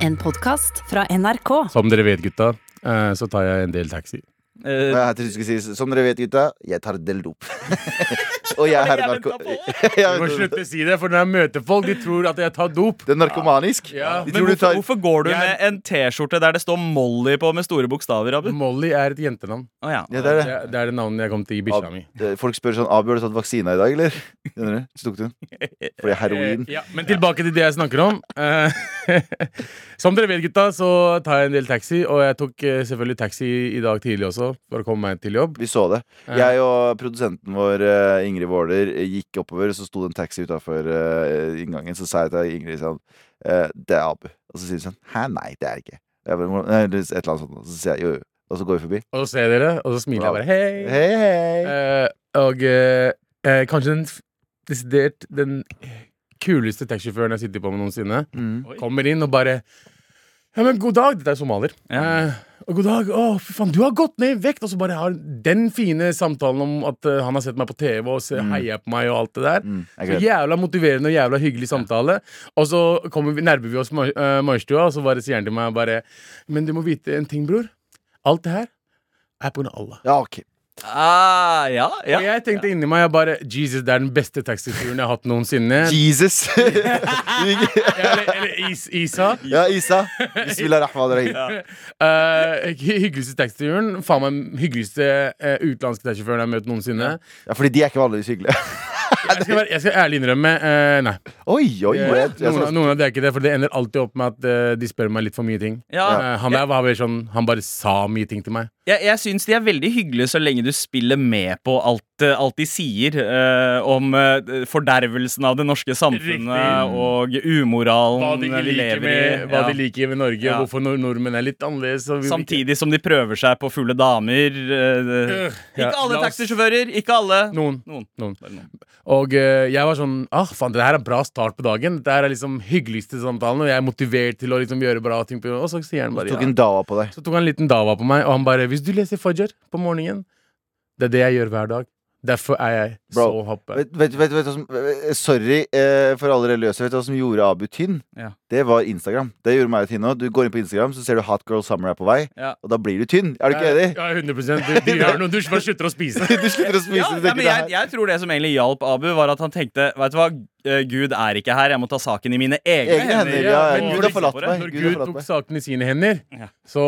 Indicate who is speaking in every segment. Speaker 1: En podkast fra NRK.
Speaker 2: Som dere vet, gutta, eh, så tar jeg en del taxi.
Speaker 3: Eh,
Speaker 4: Jeg heter, skal si, som dere vet, gutta, jeg tar del dop. og jeg er narko...
Speaker 2: Du må slutte å si det, for når jeg møter folk, de tror at jeg tar dop.
Speaker 4: Det er narkomanisk.
Speaker 2: Ja.
Speaker 4: De
Speaker 3: men
Speaker 4: tror du
Speaker 3: hvorfor,
Speaker 4: tar
Speaker 3: hvorfor går du
Speaker 2: Jeg-
Speaker 3: med en T-skjorte der det står Molly på med store bokstaver, Abu?
Speaker 2: Molly er et jentenavn.
Speaker 3: Å ja.
Speaker 4: ja, det er
Speaker 2: Det
Speaker 4: det.
Speaker 2: er, det er det navnet jeg kom til i bikkja mi.
Speaker 4: Eh, Folk spør sånn Abu, har du tatt vaksina i dag, eller? Skjønner du? Så tok du den. Fordi heroin.
Speaker 2: Eh, ja, men tilbake til det jeg snakker om. Eh, Som dere vet, gutta, så tar jeg en del taxi. Og jeg tok eh, selvfølgelig taxi i dag tidlig også for å komme meg til jobb.
Speaker 4: Vi så det.
Speaker 2: Eh,
Speaker 4: Jeg og produsenten vår, eh, Ingrid Våler, eh, gikk oppover, og så sto det en taxi utafor eh, inngangen. Så sa jeg til Ingrid sånn eh, Det er Abu. Og så sier hun sånn Hæ, nei, det er det ikke. Jeg bare, «Hvordan- nei, det er Et eller annet sånt. Og så sier jeg jo, jo. Og så går vi forbi.
Speaker 2: Og så ser jeg dere, og så smiler jeg bare hei.
Speaker 4: Hei, hei.
Speaker 2: Eh, og eh, eh, kanskje den f- desidert den kuleste taxisjåføren jeg sitter på med noensinne.
Speaker 4: Mm.
Speaker 3: Oi.
Speaker 2: Kommer inn og bare Ja, men god dag. Dette er somalier.
Speaker 3: Ja.
Speaker 2: Eh, og god dag. Å, fy faen, du har gått ned i vekt! Og så bare har den fine samtalen om at eh, han har sett meg på TV og se,
Speaker 4: Mm.
Speaker 2: heier på meg og alt det der.
Speaker 4: Mm, jeg
Speaker 2: Så
Speaker 4: gleder
Speaker 2: jævla motiverende og jævla hyggelig samtale. Og så kommer vi, nærmer vi oss mar- eh, Majorstua, og så bare sier han til meg bare Men du må vite en ting, bror. Alt det her er på grunn av Allah.
Speaker 4: Ja, ok.
Speaker 3: Ah, ja,
Speaker 2: Og
Speaker 3: ja.
Speaker 2: jeg tenkte inni meg jeg bare Jesus, det er den beste taxituren jeg har hatt noensinne.
Speaker 4: Jesus.
Speaker 2: eller eller is, Isa.
Speaker 4: ja, Isa. Bismillah rahman rahim.
Speaker 2: Eh, hy- hyggeligste taxituren. Faen meg hyggeligste eh, utenlandske taxisjåføren jeg har møtt noensinne.
Speaker 4: Ja, fordi de er ikke vanligvis hyggelige.
Speaker 2: Jeg skal, være, jeg skal ærlig innrømme eh, nei.
Speaker 4: Oi,
Speaker 2: Eh,
Speaker 4: oi, oi. Jeg,
Speaker 2: noen,
Speaker 4: jeg,
Speaker 2: av-
Speaker 4: så-
Speaker 2: noen av de er ikke det, for det ender alltid opp med at eh, de spør meg litt for mye ting.
Speaker 3: ja.
Speaker 2: Eh, han der var bare sånn Han bare sa mye ting til meg.
Speaker 3: Jeg, jeg syns de er veldig hyggelige så lenge du spiller med på alt, eh, alt de sier eh, om eh, fordervelsen av det norske samfunnet
Speaker 2: Riktig.
Speaker 3: og umoralen
Speaker 2: Hva de ikke
Speaker 3: eh, vi
Speaker 2: liker
Speaker 3: lever
Speaker 2: med,
Speaker 3: i.
Speaker 2: hva
Speaker 3: Ja.
Speaker 2: de liker med Norge,
Speaker 3: Ja.
Speaker 2: hvorfor nord nordmenn er litt annerledes. og vi-
Speaker 3: Samtidig som de prøver seg på fulle damer. eh,
Speaker 2: Øh, ja,
Speaker 3: Ikke alle
Speaker 2: la oss-
Speaker 3: taxisjåfører, ikke alle.
Speaker 2: Noen.
Speaker 3: Noen.
Speaker 2: Noen.
Speaker 3: Bare noen.
Speaker 2: Og eh, jeg var sånn ah, faen, det her er en bra start på dagen. Dette her er liksom hyggeligste samtalen, og jeg er motivert til å liksom gjøre bra ting. På, og så sier han bare
Speaker 4: tok
Speaker 2: ja.
Speaker 4: en dawa på deg.
Speaker 2: Så tok han en liten dava på meg, og han bare 'Hvis du leser Fajr på morgenen Det er det jeg gjør hver dag. Derfor er jeg
Speaker 4: Bro,
Speaker 2: så hoppe.
Speaker 4: Vet, vet, vet, vet, du hva som, eh, sorry eh, for alle religiøse. Vet du hva som gjorde Abu tynn?
Speaker 3: Ja.
Speaker 4: Det var Instagram. Det gjorde meg tynn òg. Du går inn på Instagram, så ser du Hot Girl Summer er på vei,
Speaker 3: Ja.
Speaker 4: og da blir du tynn. Er du ikke enig?
Speaker 2: Ja, 100 Du, du gjør noe, du bare slutter å spise.
Speaker 4: Du slutter å spise.
Speaker 3: Ja, ja,
Speaker 4: du tenker
Speaker 3: men
Speaker 4: det
Speaker 3: jeg,
Speaker 4: her.
Speaker 3: jeg tror det som egentlig hjalp Abu, var at han tenkte Vet du hva, eh, Gud er ikke her, jeg må ta saken i mine egne,
Speaker 4: Egne hender. Ja,
Speaker 2: Ja,
Speaker 4: ja,
Speaker 2: men
Speaker 4: Gud
Speaker 2: når-
Speaker 4: har forlatt
Speaker 3: når
Speaker 4: meg.
Speaker 2: Når
Speaker 4: Gud har
Speaker 2: Gud
Speaker 4: forlatt
Speaker 2: tok
Speaker 4: meg.
Speaker 2: saken i sine hender,
Speaker 3: Ja.
Speaker 2: så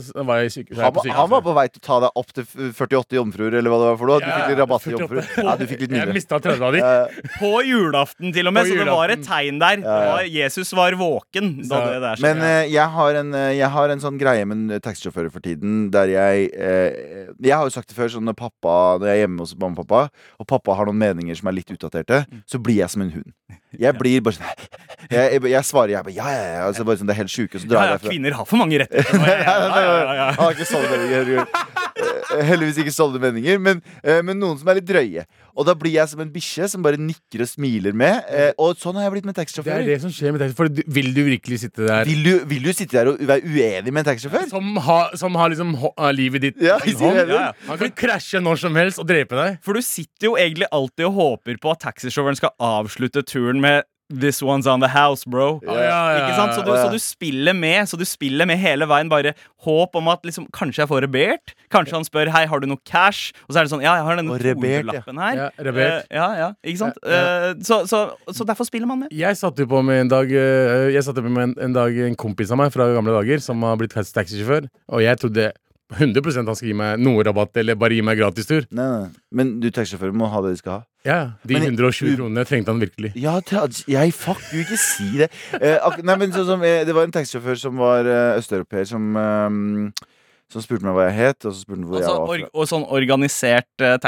Speaker 2: s- var jeg syk, så er jeg
Speaker 4: Han,
Speaker 2: på
Speaker 4: var- han var
Speaker 2: sykehuset.
Speaker 4: på vei til å ta deg opp til f- 48 jomfruer, eller hva det var for noe. Du
Speaker 2: Ja,
Speaker 4: fikk litt rabatt til
Speaker 2: 48.
Speaker 4: jomfruer. Ja, du fikk litt
Speaker 2: Jeg
Speaker 4: mindre.
Speaker 2: mista 30 av de.
Speaker 4: Eh,
Speaker 3: På julaften, til og med.
Speaker 2: På
Speaker 3: Så det var et
Speaker 2: julaften.
Speaker 3: tegn der. Det
Speaker 4: ja.
Speaker 3: var, Jesus var våken da
Speaker 2: Så-
Speaker 3: det der skjedde.
Speaker 4: Men eh, jeg, har en, eh, jeg har en sånn greie med en taxisjåfører for tiden der jeg eh, Jeg har jo sagt det før, sånn når pappa Når jeg er hjemme hos mamma og pappa, og pappa har noen meninger som er litt utdaterte,
Speaker 3: Mm.
Speaker 4: så blir jeg som en hund. Jeg blir bare sånn Jeg, jeg, jeg svarer jeg bare ja, ja, ja. Altså, bare sånn, det er helt sjuke, og så
Speaker 3: ja,
Speaker 4: drar
Speaker 3: ja,
Speaker 4: jeg derfra.
Speaker 3: kvinner har for mange rettigheter. Ja, ja, ja, ja, ja.
Speaker 4: Han har ikke sånne meninger. herregud. Eh, Heldigvis ikke sånne meninger, men, eh, men noen som er litt drøye. Og da blir jeg som en bikkje som bare nikker og smiler med. eh, Og sånn har jeg blitt med
Speaker 2: Det er
Speaker 4: taxisjåfører.
Speaker 2: det som skjer med taxi. For du- vil du virkelig sitte der
Speaker 4: Vil du, vil du sitte der og være uenig med en taxisjåfør?
Speaker 2: som har, som har liksom hå- ah, livet ditt
Speaker 4: Ja,
Speaker 2: i sin
Speaker 4: i sin
Speaker 2: hånd?
Speaker 4: hender.
Speaker 2: Ja, ja. Han kan krasje når som helst og drepe deg.
Speaker 3: For du sitter jo egentlig alltid og håper på at taxisjåføren skal avslutte turen med This one's on the house, bro.
Speaker 2: Ja, ja, ja.
Speaker 3: Ikke sant? Så du, så du spiller med Så du spiller med hele veien. Bare håp om at liksom, kanskje jeg får rebert. Kanskje han spør Hei, har du noe cash. Og så er det sånn Ja, jeg har denne
Speaker 4: Og rebert, ja.
Speaker 3: 200-lappen her.
Speaker 2: Ja, rebert.
Speaker 3: Eh, ja, ja, ikke sant?
Speaker 2: Ja, ja.
Speaker 3: Eh, så, så, så derfor spiller man med.
Speaker 2: Jeg satt jo på med en dag øh, Jeg satt jo på med en, en dag en kompis av meg fra gamle dager som har blitt tax- taxisjåfør, og jeg trodde 100 han skulle gi meg noe rabatt eller bare gi meg gratistur.
Speaker 4: Nei, nei. Men du taxisjåfører må ha det de skal ha.
Speaker 2: Ja, de
Speaker 4: Men-
Speaker 2: 120 kronene trengte han virkelig.
Speaker 4: Ja, ta- jeg Fuck, du ikke si det. Eh, ak nei, men sånn som, eh, det var en taxisjåfør som var eh, østeuropeer, som, eh, som spurte meg hva jeg het, og så spurte han hvor
Speaker 3: Altså,
Speaker 4: jeg var
Speaker 3: org
Speaker 4: fra.
Speaker 3: og sånn organisert eh,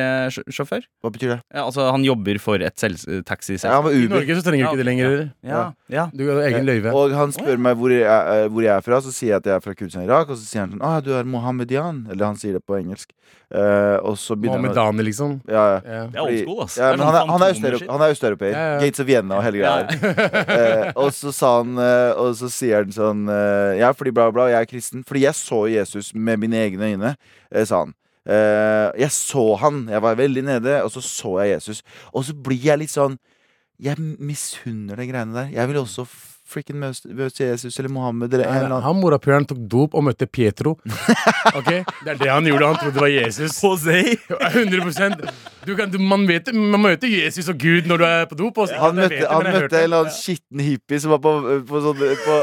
Speaker 3: taxisjåfør.
Speaker 4: Hva betyr det?
Speaker 3: Ja, altså, han jobber for et sels-
Speaker 4: Ja,
Speaker 3: taxiselskap.
Speaker 4: han var
Speaker 2: I
Speaker 4: Uber.
Speaker 2: Norge så trenger du
Speaker 3: Ja,
Speaker 2: ikke det lenger. eller?
Speaker 3: Ja, ja.
Speaker 2: Du har egen løyve.
Speaker 4: Eh, Og han spør meg hvor jeg, eh, hvor jeg er fra, så sier jeg at jeg er fra Kurdistan Irak, og så sier han sånn ah, du er mohammedian. Eller han sier det på engelsk. Eh, og så begynner han å-
Speaker 2: Mohammedane, liksom.
Speaker 4: ja, ja.
Speaker 2: Ja.
Speaker 3: Det er old school, ass.
Speaker 4: Ja,
Speaker 3: Det er
Speaker 4: men
Speaker 3: sånn
Speaker 4: han er, han er,
Speaker 3: fantomer-shit.
Speaker 4: østeurope- han er østeuropeer.
Speaker 2: Ja, ja.
Speaker 4: Gates of Vienna og hele greia
Speaker 3: Ja.
Speaker 4: der. Eh, og så sa han eh, Og så sier han sånn eh, Ja, fordi bla, bla, jeg er kristen. Fordi jeg så Jesus med mine egne øyne, eh, sa han. Eh, jeg så han. Jeg var veldig nede, og så så jeg Jesus. Og så blir jeg litt sånn Jeg misunner de greiene der. Jeg vil også f frikken møs- møs Jesus eller Mohammed eller en eller annen.
Speaker 2: Han morapuleren tok dop og møtte Pietro. Ok? Det er det han gjorde. Han trodde det var Jesus.
Speaker 3: Jose!
Speaker 2: 100 du kan, du, man, vet, man møter Jesus og Gud når du er på dop. ass.
Speaker 4: Altså, Han
Speaker 2: Jeg vet
Speaker 4: møtte,
Speaker 2: det,
Speaker 4: han
Speaker 2: men jeg hørte
Speaker 4: møtte en
Speaker 2: det.
Speaker 4: eller annen skitten hippie som var på, på, sånn, på,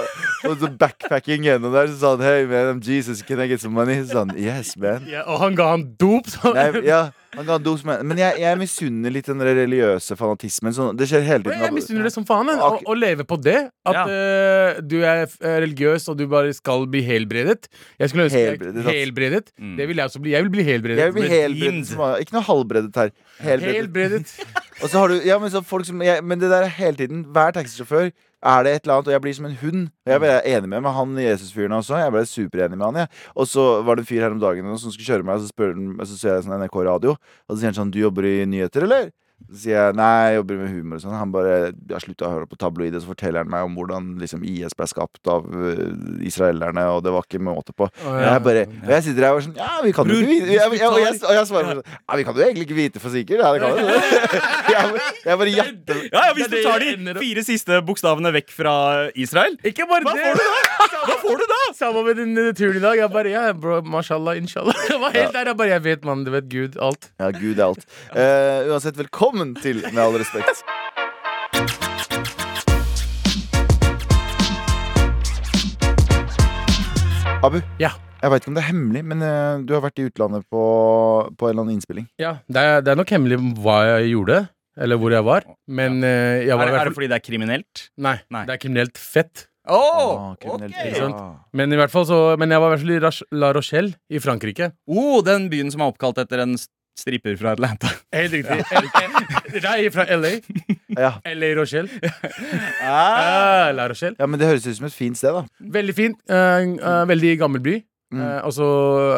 Speaker 4: på sånn backpacking gjennom der. Så sa han Hey man, I'm Jesus, can I get some money? Så sa han Yes, man.
Speaker 2: ja, Og han ga han dop. Så.
Speaker 4: Nei, ja, han ga dos, men men jeg, jeg misunner litt den der religiøse fanatismen. Sånn, det skjer hele
Speaker 2: Bro,
Speaker 4: tiden.
Speaker 2: Jeg misunner det som faen. men Å,
Speaker 4: Ak-
Speaker 2: å leve på det. At
Speaker 3: Ja.
Speaker 2: eh, du er f- eh, religiøs og du bare skal bli helbredet. Jeg skulle ønske
Speaker 4: Helbredet,
Speaker 2: jeg,
Speaker 4: ass.
Speaker 2: helbredet.
Speaker 3: Mm.
Speaker 2: Det vil jeg også bli. Jeg vil bli helbredet.
Speaker 4: Jeg blir
Speaker 3: redeemed.
Speaker 4: helbredet. som vanlig. Ikke noe halvbredet her. Helbredet.
Speaker 2: helbredet.
Speaker 4: Og så har du, ja, men, så folk som, jeg, men det der er hele tiden. Hver taxisjåfør er det et eller annet, og jeg blir som en hund. Og jeg ble
Speaker 3: Mm.
Speaker 4: enig med, med han Jesus-fyren også. Jeg ble superenig med han. Jeg. Og så var det en fyr her om dagen som skulle kjøre meg, og så, spør han, og så ser jeg sånn NRK Radio, og så sier han sånn Du jobber i nyheter, eller? Så sier jeg nei, jeg jobber med humor og sånn. Han bare jeg har slutta å høre på tabloid, og så forteller han meg om hvordan liksom, IS ble skapt av øh, israelerne, og det var ikke måte på.
Speaker 2: Å,
Speaker 4: Og
Speaker 2: ja.
Speaker 4: jeg bare, og jeg sitter her og er sånn Ja, vi kan jo
Speaker 3: Bror,
Speaker 4: ikke vite
Speaker 3: hvis
Speaker 4: jeg,
Speaker 3: vi
Speaker 4: jeg, og, jeg,
Speaker 3: tar-
Speaker 4: og jeg svarer bare sånn Ja, vi kan jo egentlig ikke vite for sikkert. Ja, det kan jo det. Jeg bare- Jeg bare gjetter.
Speaker 3: Ja, ja, Hvis
Speaker 2: Det er
Speaker 3: du
Speaker 2: det
Speaker 3: tar
Speaker 2: jeg
Speaker 3: de
Speaker 2: ender opp-
Speaker 3: fire siste bokstavene vekk fra Israel
Speaker 2: Ikke bare
Speaker 3: Hva får du
Speaker 2: det.
Speaker 3: da? Hva får du da?
Speaker 2: Sammen med den eh, turen i dag. Jeg bare, ja, bro, mashallah, inshallah. Jeg var helt der. Jeg bare, jeg vet, mann. Du vet Gud. Alt.
Speaker 4: Ja, gud er alt. Eh, uansett, velkommen til Med all respekt. Abu,
Speaker 2: Ja.
Speaker 4: jeg veit ikke om det er hemmelig, men eh, du har vært i utlandet på, på en eller annen innspilling.
Speaker 2: Ja, det er, det er nok hemmelig hva jeg gjorde, eller hvor jeg var. Men eh, jeg
Speaker 3: Er,
Speaker 2: var i hvert
Speaker 3: det- er det
Speaker 2: fall
Speaker 3: fordi det er kriminelt?
Speaker 2: Nei,
Speaker 3: Nei.
Speaker 2: det er kriminelt fett.
Speaker 3: Åh,
Speaker 4: Ah, kriminelt.
Speaker 3: ok.
Speaker 2: Ikke sant? Men i hvert fall så Men jeg var i hvert fall i Ras- La Rochelle i Frankrike.
Speaker 3: Oh, den byen som er oppkalt etter en s- stripper fra Atlanta.
Speaker 2: Helt riktig. L- Nei, fra LA.
Speaker 4: Ja.
Speaker 2: LA Rochelle.
Speaker 3: Ah.
Speaker 2: Eh, La Rochelle.
Speaker 4: ja, men det høres ut som et fint sted, da.
Speaker 2: Veldig fint. eh, eh, veldig gammel by.
Speaker 4: Mm.
Speaker 2: Eh, og så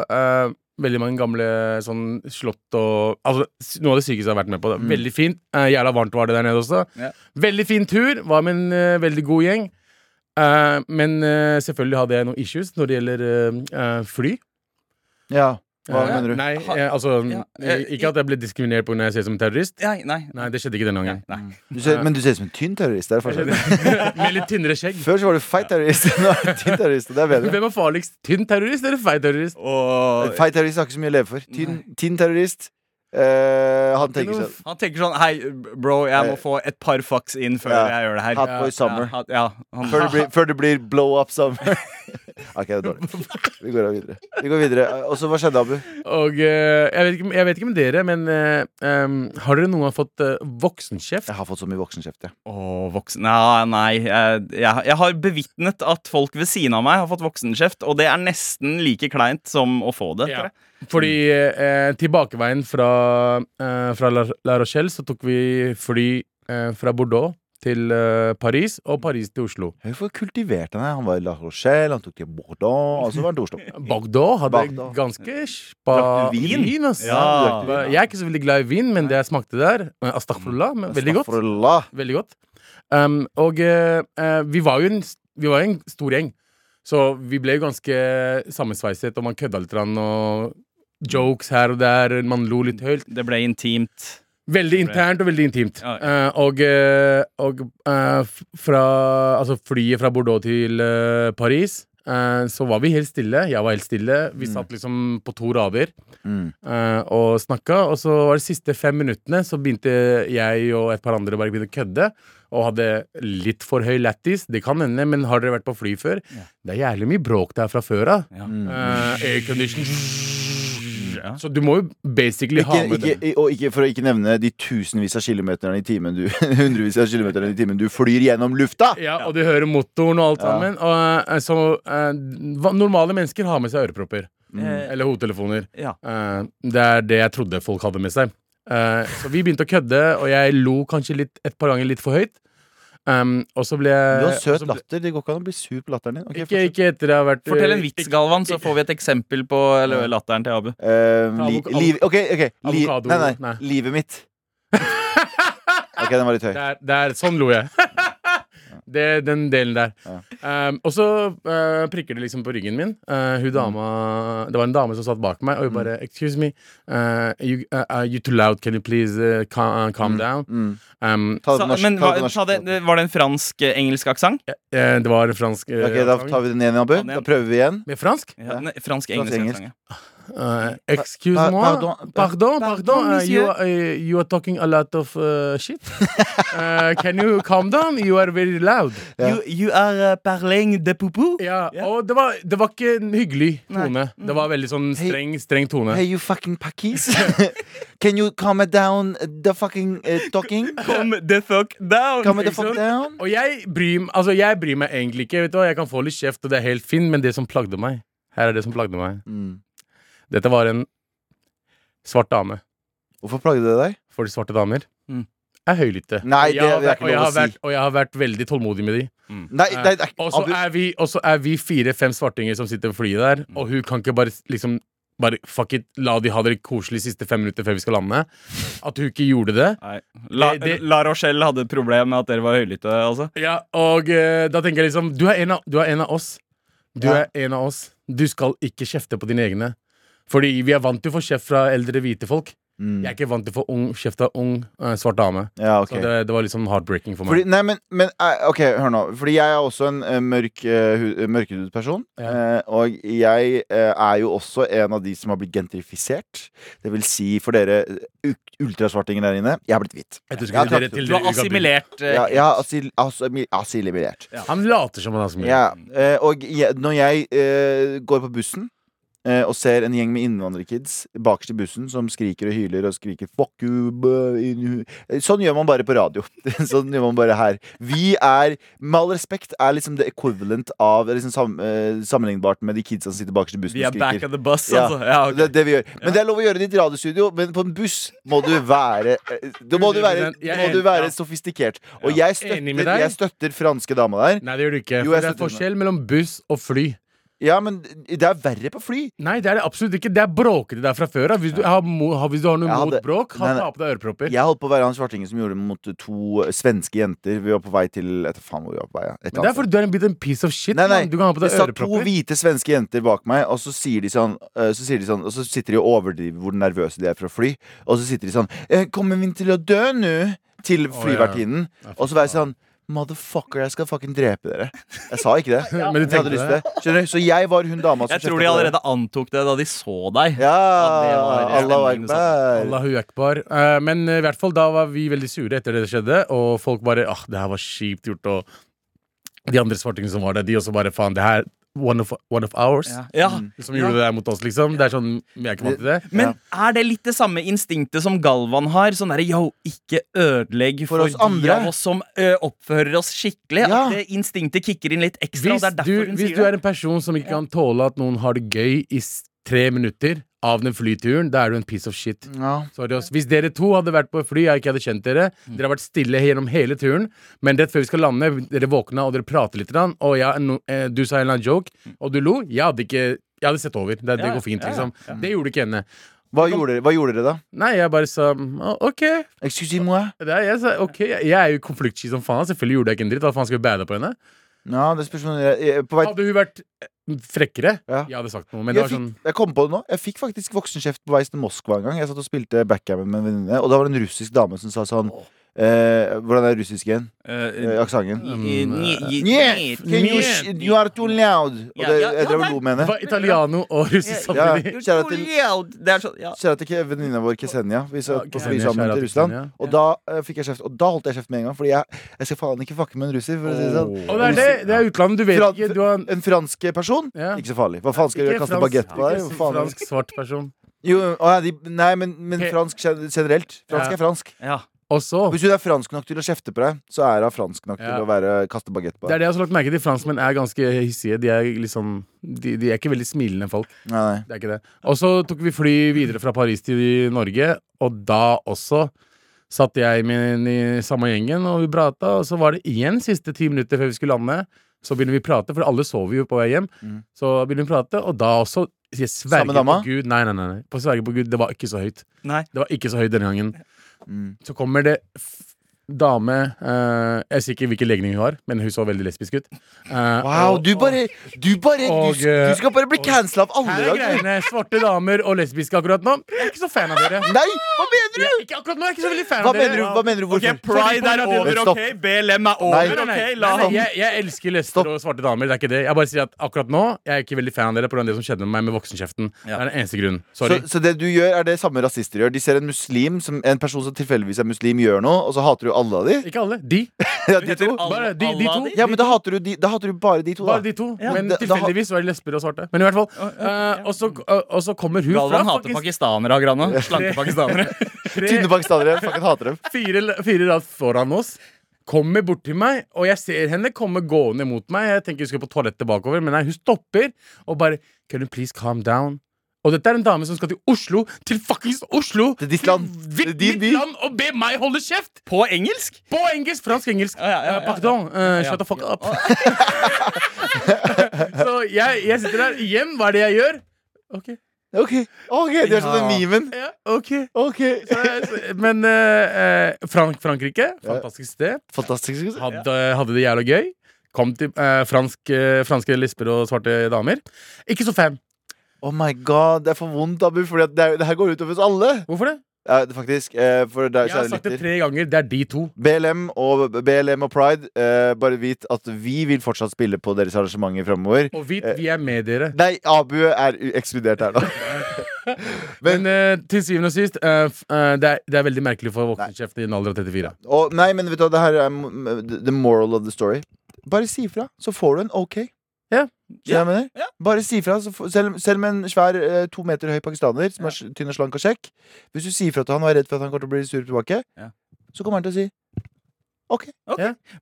Speaker 2: eh, veldig mange gamle sånn slott og Altså s- noe av det sykeste jeg har vært med på. Det.
Speaker 4: Mm.
Speaker 2: Veldig fint. Eh, jævla varmt var det der nede også.
Speaker 3: Ja.
Speaker 2: Veldig fin tur. Var med en eh, veldig god gjeng. Eh, men eh, selvfølgelig hadde jeg noen issues når det gjelder eh, eh, fly.
Speaker 4: Ja, hva
Speaker 2: Eh,
Speaker 4: mener du?
Speaker 2: Nei,
Speaker 3: Ha-
Speaker 2: eh, altså
Speaker 3: Ja,
Speaker 2: eh,
Speaker 3: eh,
Speaker 2: Ikke at jeg ble diskriminert på grunn av at jeg ser ut som en terrorist.
Speaker 3: Nei, nei.
Speaker 2: Nei, det Mm. skjedde ikke denne gangen.
Speaker 3: nei.
Speaker 4: Du ser, men du ser ut som en tynn terrorist. Det er forskjell.
Speaker 2: Med litt tynnere skjegg.
Speaker 4: Før så var du feit terrorist, nå er du tynn terrorist. og Det er bedre.
Speaker 2: Hvem er farligst? Tynn terrorist eller feit terrorist?
Speaker 3: Og
Speaker 4: Feit terrorist har ikke så mye å leve for. Tynn, tynn terrorist eh, Han tenker sånn
Speaker 3: han tenker sånn Hei, bro, jeg må få et par fucks inn før
Speaker 4: Eh. Ja.
Speaker 3: jeg gjør det her.
Speaker 4: Hot boy
Speaker 3: Ja,
Speaker 4: summer.
Speaker 3: han- ja, han,
Speaker 4: Før det blir, før det blir blow up summer. OK, det er dårlig. Vi går videre. Vi går videre. Eh, Og så hva skjedde, Abu?
Speaker 2: Og eh, jeg, vet ikke, jeg vet ikke med dere, men eh, em, har dere noen gang fått eh, voksenkjeft?
Speaker 4: Jeg har fått så mye voksenkjeft, jeg.
Speaker 3: Åh, voksen Nei, nei jeg, jeg, jeg har bevitnet at folk ved siden av meg har fått voksenkjeft, og det er nesten like kleint som å få det.
Speaker 2: Ja.
Speaker 3: tror jeg.
Speaker 2: Fordi eh, tilbakeveien fra, eh, fra La, La Rochelle så tok vi fly eh, fra Bordeaux til eh, Paris, og Paris til Oslo.
Speaker 4: Hvorfor kultiverte han her? Han var i La Rochelle, han tok til Bordeaux, og så var han til Oslo.
Speaker 2: Bordeaux hadde
Speaker 4: Bordeaux.
Speaker 2: ganske spa
Speaker 3: Drakk du vin?
Speaker 2: ass.
Speaker 3: Ja. Mm.
Speaker 2: Jeg er ikke så veldig glad i vin, men det jeg smakte der, eh, astaghfirullah, men veldig godt.
Speaker 4: Astaghfirullah.
Speaker 2: Veldig godt. Um, og eh, eh, vi var jo en, vi var jo en stor gjeng, så vi ble jo ganske sammensveiset, og man kødda litt grann, og jokes her og der, man lo litt høyt.
Speaker 3: Det ble intimt.
Speaker 2: Veldig internt og veldig intimt.
Speaker 3: Ja, ja.
Speaker 2: Eh, og eh, og eh, f- fra altså flyet fra Bordeaux til eh, Paris, eh, så var vi helt stille. Jeg var helt stille. Vi
Speaker 4: Mm.
Speaker 2: satt liksom på to rader
Speaker 4: Mm.
Speaker 2: eh, og snakka. Og så var det siste fem minuttene så begynte jeg og et par andre bare begynte å kødde. Og hadde litt for høy lættis. Det kan hende, men har dere vært på fly før?
Speaker 3: Ja.
Speaker 2: Det er jævlig mye bråk der fra før av.
Speaker 3: Ja.
Speaker 4: Mm.
Speaker 2: Eh, Aircondition.
Speaker 3: Ja.
Speaker 2: Så du må jo basically
Speaker 4: Ikke,
Speaker 2: ha med det.
Speaker 4: ikke, og ikke for å ikke nevne de tusenvis av kilometerne i timen du hundrevis av kilometerne i timen du flyr gjennom lufta!
Speaker 2: Ja, og du hører motoren og alt
Speaker 4: Ja.
Speaker 2: sammen. Og, eh, så eh, hva- normale mennesker har med seg ørepropper.
Speaker 3: Eh,
Speaker 2: Eller hodetelefoner.
Speaker 3: ja.
Speaker 2: Eh, det er det jeg trodde folk hadde med seg. Eh, så vi begynte å kødde, og jeg lo kanskje litt, et par ganger litt for høyt. Um, og så ble
Speaker 4: Du
Speaker 2: jeg
Speaker 4: har søt
Speaker 2: og så ble-
Speaker 4: latter. Det går ikke an å bli sur på latteren din. Ok,
Speaker 2: Ikke, ikke etter jeg har vært eh,
Speaker 3: Fortell en vits,
Speaker 2: ikke-
Speaker 3: Galvan, så får vi et eksempel på eller, latteren til Abu.
Speaker 4: Eh, li,
Speaker 2: Avok-
Speaker 4: liv, ok, ok li,
Speaker 2: Avokado,
Speaker 4: nei, nei,
Speaker 2: nei.
Speaker 4: Livet mitt. Ok, den var litt høy.
Speaker 2: Det er, det er, sånn lo jeg. det, den delen der.
Speaker 4: Ja.
Speaker 2: Ehm, og så eh, prikker det liksom på ryggen min. Eh, hun dama, det var en dame som satt bak meg, og
Speaker 4: Mm.
Speaker 2: hun bare 'Excuse me, eh, you, eh, are you too loud? Can you please eh, ca- eh, calm down?'
Speaker 4: Mm.
Speaker 2: Ehm,
Speaker 4: Ta det
Speaker 3: Sa,
Speaker 4: på norsk.
Speaker 3: men
Speaker 4: ta
Speaker 3: hva,
Speaker 4: det på norsk.
Speaker 3: sa det, det- var det en fransk-engelsk aksent?
Speaker 2: eh, det var en fransk eh,
Speaker 4: Ok, Da tar vi den igjen, Abu.
Speaker 3: Ta den igjen.
Speaker 4: Da prøver vi igjen.
Speaker 2: Med fransk?
Speaker 3: Ja, ne- Fransk-engelsk
Speaker 4: Fransk-engelsk.
Speaker 3: aksent. ja.
Speaker 2: Eh, excuse
Speaker 4: Pa-
Speaker 2: moi.
Speaker 4: pardon,
Speaker 2: Pardon, pardon.
Speaker 3: Pardon,
Speaker 2: eh, you,
Speaker 3: monsieur.
Speaker 2: are- eh, you are talking a lot of eh, shit. Eh, can you calm down? You are very loud.
Speaker 4: Ja.
Speaker 3: You, you are uh, parling de poupou?
Speaker 2: Ja,
Speaker 3: Ja.
Speaker 2: Og det var, det var ikke en hyggelig
Speaker 3: Nei.
Speaker 2: tone. Det var veldig sånn
Speaker 4: Mm. Hei.
Speaker 2: streng, streng tone.
Speaker 4: Hey, you fucking pakis. Can you calm it down uh, the fucking eh, talking?
Speaker 3: Come the fuck down!
Speaker 4: Calm the
Speaker 2: Ikke
Speaker 4: fuck
Speaker 2: sant?
Speaker 4: down?
Speaker 2: Og jeg bryr, m- altså, jeg bryr meg egentlig ikke. Vet du hva? Jeg kan få litt kjeft, og det er helt fint, men det som plagde meg Her er det som plagde meg.
Speaker 4: Mm.
Speaker 2: Dette var en svart dame.
Speaker 4: Hvorfor plagde det deg?
Speaker 2: For de svarte damer
Speaker 3: Mm.
Speaker 2: er høylytte.
Speaker 4: Nei,
Speaker 2: Og jeg
Speaker 4: det
Speaker 2: har
Speaker 4: er
Speaker 2: vært-
Speaker 4: ikke
Speaker 2: og jeg
Speaker 4: lov å
Speaker 2: har
Speaker 4: si.
Speaker 2: vært- Og jeg har vært veldig tålmodig med de.
Speaker 4: Nei, nei, det er ikke
Speaker 2: Og så
Speaker 4: Abu,
Speaker 2: er vi, og så er vi fire-fem svartinger som sitter på flyet der,
Speaker 4: Mm.
Speaker 2: og hun kan ikke bare s- liksom bare fuck it, la de ha det koselig siste fem minutter før vi skal lande. At hun ikke gjorde det.
Speaker 3: Nei. La,
Speaker 4: Eh,
Speaker 2: Det- det-
Speaker 3: La Rochelle hadde et problem med at dere var høylytte, altså.
Speaker 2: Ja, og eh, da tenker jeg liksom Du er en av, du er en av oss. Du
Speaker 4: Ja.
Speaker 2: er en av oss. Du skal ikke kjefte på dine egne. Fordi vi er vant til å få kjeft fra eldre hvite folk.
Speaker 4: Mm.
Speaker 2: Jeg er ikke vant til å få ung, kjeft av ung eh, svart dame.
Speaker 4: Ja, ok
Speaker 2: Så det, det var litt sånn heartbreaking for
Speaker 4: Fordi,
Speaker 2: meg.
Speaker 4: nei, men, men eh, ok, hør nå. Fordi jeg er også en eh, mørk, eh, hu- mørkhudet person.
Speaker 2: Ja.
Speaker 4: eh, og jeg eh, er jo også en av de som har blitt gentrifisert. Det vil si, for dere u- ultrasvartinger der inne, jeg har blitt hvit.
Speaker 2: Jeg tror
Speaker 4: Ja,
Speaker 2: skulle dere
Speaker 4: takk.
Speaker 2: til
Speaker 3: Du
Speaker 2: dere
Speaker 3: har assimilert. eh,
Speaker 4: Jeg, jeg har assil, assil, assimilert.
Speaker 2: ugabil. Han later som han er så mye.
Speaker 4: Ja, eh, og jeg, når jeg eh, går på bussen eh, og ser en gjeng med innvandrerkids bakerst i bussen som skriker og hyler og skriker 'fuck you' bø, in hu-" Eh, Sånn gjør man bare på radio. sånn gjør man bare her. Vi er, med all respekt, er liksom det equivalent av liksom sam, eh, Sammenlignbart med de kidsa som sitter bakerst i bussen
Speaker 3: Vi
Speaker 4: og
Speaker 3: er back
Speaker 4: skriker.
Speaker 3: of the bus,
Speaker 4: Ja,
Speaker 3: altså. Ja, ok.
Speaker 4: Det, er det vi gjør. Men det er lov å gjøre det i et radiostudio, men på en buss må du være eh, Da må du være,
Speaker 2: 100%. Jeg er
Speaker 4: må du
Speaker 2: enig.
Speaker 4: være
Speaker 2: Ja.
Speaker 4: sofistikert. Og jeg
Speaker 2: Enig med
Speaker 4: støtter,
Speaker 2: deg.
Speaker 4: jeg støtter franske dama der.
Speaker 2: Nei, det gjør du ikke.
Speaker 4: Jo,
Speaker 2: for
Speaker 4: jeg
Speaker 2: det er
Speaker 4: støtter meg.
Speaker 2: forskjell mellom buss og fly.
Speaker 4: Ja, men det er verre på fly.
Speaker 2: Nei, det er det absolutt ikke. Det er bråkete der fra før av. Hvis, du har mo- har- hvis du har noe
Speaker 4: Jeg
Speaker 2: mot
Speaker 4: hadde-
Speaker 2: bråk, ha
Speaker 4: Nei, nei.
Speaker 2: ta på deg ørepropper.
Speaker 4: Jeg holdt på å være han svartingen som gjorde det mot to svenske jenter. Vi var på vei til Jeg vet faen hvor vi var på vei. ja.
Speaker 2: Men
Speaker 4: Et
Speaker 2: det
Speaker 4: annet
Speaker 2: er fordi du er en bit en piece of shit.
Speaker 4: altså. Nei, nei,
Speaker 2: mann. Du kan ha på
Speaker 4: Det
Speaker 2: deg
Speaker 4: satt to
Speaker 2: ørepropper.
Speaker 4: hvite svenske jenter bak meg, og så sier de sånn, eh, så sier de sånn Og så sitter de og overdriver hvor nervøse de er for å fly, og så sitter de sånn «Eh, 'Kommer vi til å dø nå?' til
Speaker 2: ja.
Speaker 4: flyvertinnen.
Speaker 2: Ja, fy
Speaker 4: Og så var jeg sånn Motherfucker, jeg skal fucking drepe dere. Jeg sa ikke det.
Speaker 2: Men du
Speaker 4: men jeg hadde
Speaker 2: tenkte
Speaker 4: lyst til det. Skjønner du? Så jeg var hun dama som
Speaker 3: Jeg tror
Speaker 4: kjeftet
Speaker 3: de
Speaker 4: på dere.
Speaker 3: allerede antok det da de så deg.
Speaker 4: Ja!
Speaker 3: det var det
Speaker 4: Allah
Speaker 3: stemningen altså. du satte.
Speaker 4: akbar.
Speaker 2: Allahu akbar. Eh, men eh, i hvert fall da var vi veldig sure etter det skjedde, og folk bare ah, det her var kjipt gjort, og de andre svartingene som var der, de også bare faen, det her One of, one of ours
Speaker 3: Ja. ja.
Speaker 4: Mm.
Speaker 2: som gjorde det der mot oss, liksom. Det er sånn, Vi er ikke vant til det.
Speaker 3: Men er det litt det samme instinktet som Galvan har? Sånn derre yo, ikke ødelegg
Speaker 4: For
Speaker 3: for,
Speaker 4: oss andre.
Speaker 3: de av oss som ø, oppfører oss skikkelig.
Speaker 4: Ja.
Speaker 3: At det instinktet kicker inn litt ekstra.
Speaker 2: Hvis
Speaker 3: og det er
Speaker 2: du,
Speaker 3: derfor hun
Speaker 2: hvis du
Speaker 3: sier det.
Speaker 2: er en person som ikke kan tåle at noen har det gøy i s- tre minutter av den flyturen, da er du en piece of shit.
Speaker 4: Ja.
Speaker 2: Sorry, ass. Hvis dere to hadde vært på et fly, jeg ikke hadde kjent dere
Speaker 4: Mm.
Speaker 2: Dere har vært stille gjennom hele turen, men rett før vi skal lande, dere våkna og dere prater litt. grann, Og ja, no, eh, du sa en eller annen joke,
Speaker 4: Mm.
Speaker 2: og du lo. Jeg hadde ikke Jeg hadde sett over. Det, det
Speaker 3: Ja,
Speaker 2: går fint,
Speaker 3: ja, ja.
Speaker 2: liksom. Det gjorde ikke henne.
Speaker 4: Hva gjorde dere, hva gjorde dere da?
Speaker 2: Nei, jeg bare sa mm, «Å, OK.
Speaker 4: Excuse moi.
Speaker 2: Det er, jeg, sa, ok, jeg, jeg er jo konfliktsky som faen. Selvfølgelig gjorde jeg ikke en dritt. Hva faen skal vi bære på henne?
Speaker 4: Ja, det spørs om jeg, jeg, på vei,
Speaker 2: Hadde hun vært eh, frekkere,
Speaker 4: Ja.
Speaker 2: jeg hadde sagt noe. Men det
Speaker 4: jeg,
Speaker 2: var
Speaker 4: fikk,
Speaker 2: sånn
Speaker 4: jeg kom på det nå. Jeg fikk faktisk voksenkjeft på vei til Moskva en gang. Jeg satt og spilte backgammon med en venninne, og da var det en russisk dame som sa sånn eh, Hvordan er russisk igjen? Eh,
Speaker 3: Ø,
Speaker 4: Aksenten
Speaker 3: i- i- i- i-
Speaker 4: igjen? Can you, sh- you are too loud! Og det,
Speaker 3: Ja, ja, ja,
Speaker 4: jeg drev og
Speaker 3: nei.
Speaker 4: lo
Speaker 2: Det
Speaker 4: med henne.
Speaker 2: var italiano og russisk
Speaker 4: Ja,
Speaker 2: samtidig.
Speaker 4: kjære til-
Speaker 3: Det er sånn, ja.
Speaker 4: Kjære til ikke venninna vår Kesenia. Vi satt på fly
Speaker 2: Ksenia,
Speaker 4: sammen
Speaker 2: kjære
Speaker 4: til
Speaker 2: til
Speaker 4: Russland.
Speaker 2: Ksenia.
Speaker 4: Og da eh, fikk jeg kjeft. Og da holdt jeg kjeft med en gang, fordi jeg, jeg skal faen ikke fucke med en russer. For å si det sånn.
Speaker 2: Og det er det. Det er utlandet. Du vet
Speaker 4: Fra-
Speaker 2: ikke. Du har
Speaker 4: En fransk person?
Speaker 2: Ja.
Speaker 4: Ikke så farlig. Hva faen skal jeg gjøre? Kaste
Speaker 2: fransk-
Speaker 4: bagett på deg?
Speaker 2: ikke
Speaker 4: Hva faen?
Speaker 2: fransk svart person.
Speaker 4: Jo, å, ja, de, nei, men, men
Speaker 2: Pe-
Speaker 4: fransk gen- generelt. Fransk
Speaker 2: Ja.
Speaker 4: er fransk.
Speaker 3: ja.
Speaker 2: Og så
Speaker 4: Hvis hun er fransk nok til å kjefte på deg, så er hun fransk nok
Speaker 2: Ja.
Speaker 4: til å være, kaste bagett på
Speaker 2: Det er
Speaker 4: deg.
Speaker 2: det jeg har så lagt merke til. Franskmenn er ganske hissige. De er liksom De, de er ikke veldig smilende folk.
Speaker 4: Nei, nei.
Speaker 2: Det er ikke det. Og så tok vi fly videre fra Paris til Norge, og da også satt jeg med den i samme gjengen, og vi prata, og så var det igjen siste ti minutter før vi skulle lande. Så begynner vi å prate, for alle sover jo på vei hjem.
Speaker 4: Mm.
Speaker 2: Så begynner vi å prate, og da også jeg
Speaker 4: Samme
Speaker 2: sverger på
Speaker 4: dama?
Speaker 2: Gud Nei, nei, nei. nei. På sverger på Gud, det var ikke så høyt.
Speaker 3: Nei.
Speaker 2: Det var ikke så høyt denne gangen.
Speaker 4: Mm.
Speaker 2: Så kommer det f- dame eh, Jeg sier ikke hvilken legning hun har, men hun så veldig lesbisk ut. Eh,
Speaker 4: Wow,
Speaker 2: og-
Speaker 4: du bare Du, bare,
Speaker 2: og,
Speaker 4: du, du skal bare bli
Speaker 2: og-
Speaker 4: cancela av alle
Speaker 2: Her er
Speaker 4: i dag.
Speaker 2: greiene. Svarte damer og lesbiske akkurat nå. Jeg er ikke så fan av dere.
Speaker 4: du. Nei, hva mener du?
Speaker 2: Jeg, ikke akkurat nå, jeg er ikke så veldig fan
Speaker 4: Hva
Speaker 2: av dere.
Speaker 4: mener du? Hva mener du?
Speaker 3: Ok,
Speaker 4: Hvorfor?
Speaker 3: Pride er
Speaker 2: Stopp.
Speaker 3: over, ok? BLM er over,
Speaker 2: Nei, nei,
Speaker 3: ok? La
Speaker 2: nei, nei,
Speaker 3: ham
Speaker 2: jeg, jeg elsker
Speaker 4: Stopp.
Speaker 2: lester og svarte damer. Det er ikke det. Jeg bare sier at akkurat nå Jeg er ikke veldig fan av dere pga. det som skjedde med meg med voksenkjeften.
Speaker 3: Ja.
Speaker 2: Det er den eneste grunnen.
Speaker 4: Så,
Speaker 2: Sorry.
Speaker 4: så det du gjør, er det samme rasister gjør. De ser en muslim som, En person som tilfeldigvis er muslim, gjør noe, og så hater du alle av de?
Speaker 2: Ikke alle. De.
Speaker 4: Ja,
Speaker 3: Du
Speaker 4: de
Speaker 3: heter
Speaker 4: to.
Speaker 3: Al-
Speaker 2: Bare de- de to.
Speaker 3: Aladi?
Speaker 4: Ja, men da hater du, de, da hater du bare de to, da.
Speaker 2: Bare de to.
Speaker 3: Ja,
Speaker 2: Men
Speaker 4: da- da har-
Speaker 2: tilfeldigvis var det lesber og svarte. Men i hvert fall. eh, og, så, og- og så kommer hun fra
Speaker 3: Galvan hater
Speaker 2: faktisk
Speaker 3: pakistanere, Agrana. Slanke pakistanere.
Speaker 2: tre,
Speaker 4: Tynne pakistanere. Fucking hater dem.
Speaker 2: fire, fire rad foran oss. Kommer bort til meg, og jeg ser henne komme gående mot meg. Jeg tenker hun skal på toalettet bakover, men nei, hun stopper og bare Can you please calm down? Og dette er en dame som skal til Oslo, til fuckings Oslo!
Speaker 4: Til ditt land.
Speaker 2: Til
Speaker 4: Til
Speaker 2: mitt,
Speaker 4: din by.
Speaker 2: mitt land og be meg holde kjeft!
Speaker 3: På engelsk?
Speaker 2: På engelsk, fransk-engelsk.
Speaker 3: Ja, ja, ja, ja.
Speaker 2: Eh, Pardon. eh,
Speaker 3: Ja.
Speaker 2: shut the fuck up. Så jeg, jeg sitter der igjen. Hva er det jeg gjør? OK.
Speaker 4: Ok, ok, De er sånn den
Speaker 3: Ja.
Speaker 4: memen.
Speaker 2: Ja, ok
Speaker 4: Ok
Speaker 2: Så jeg- så- Men eh, eh, Frank Frankrike, fantastisk sted.
Speaker 4: Fantastisk. skal du si.
Speaker 2: Hadde, hadde det jævla gøy. Kom til eh, fransk, eh, franske lisper og svarte damer. Ikke så fan.
Speaker 4: Oh my god, det er for vondt, Abu, for det, er- det her går ut over oss alle.
Speaker 2: Hvorfor det?
Speaker 4: Ja, det- faktisk. eh, For der,
Speaker 2: Jeg har sagt det tre ganger. Det er de to.
Speaker 4: BLM og, BLM og Pride, eh, bare vit at vi vil fortsatt spille på deres arrangementer framover.
Speaker 2: Og vi, vi er med dere.
Speaker 4: Nei, Abu er u- ekskludert her nå.
Speaker 2: Men eh, til syvende og sist, eh, f- eh, det, er, det er veldig merkelig for voksenkjeften i en alder av 34.
Speaker 4: Og, nei, men vet du hva, det her er m- m- the moral of the story. Bare si ifra, så får du en OK.
Speaker 2: Ja.
Speaker 4: Skjønner du hva jeg mener?
Speaker 3: Ja.
Speaker 4: Bare si ifra, så får- selv, selv med en svær eh, to meter høy pakistaner som er s- tynn og slank og kjekk. Hvis du sier ifra til han og er redd for at han kommer til å bli sur tilbake,
Speaker 3: Ja.
Speaker 4: så kommer han til å si OK.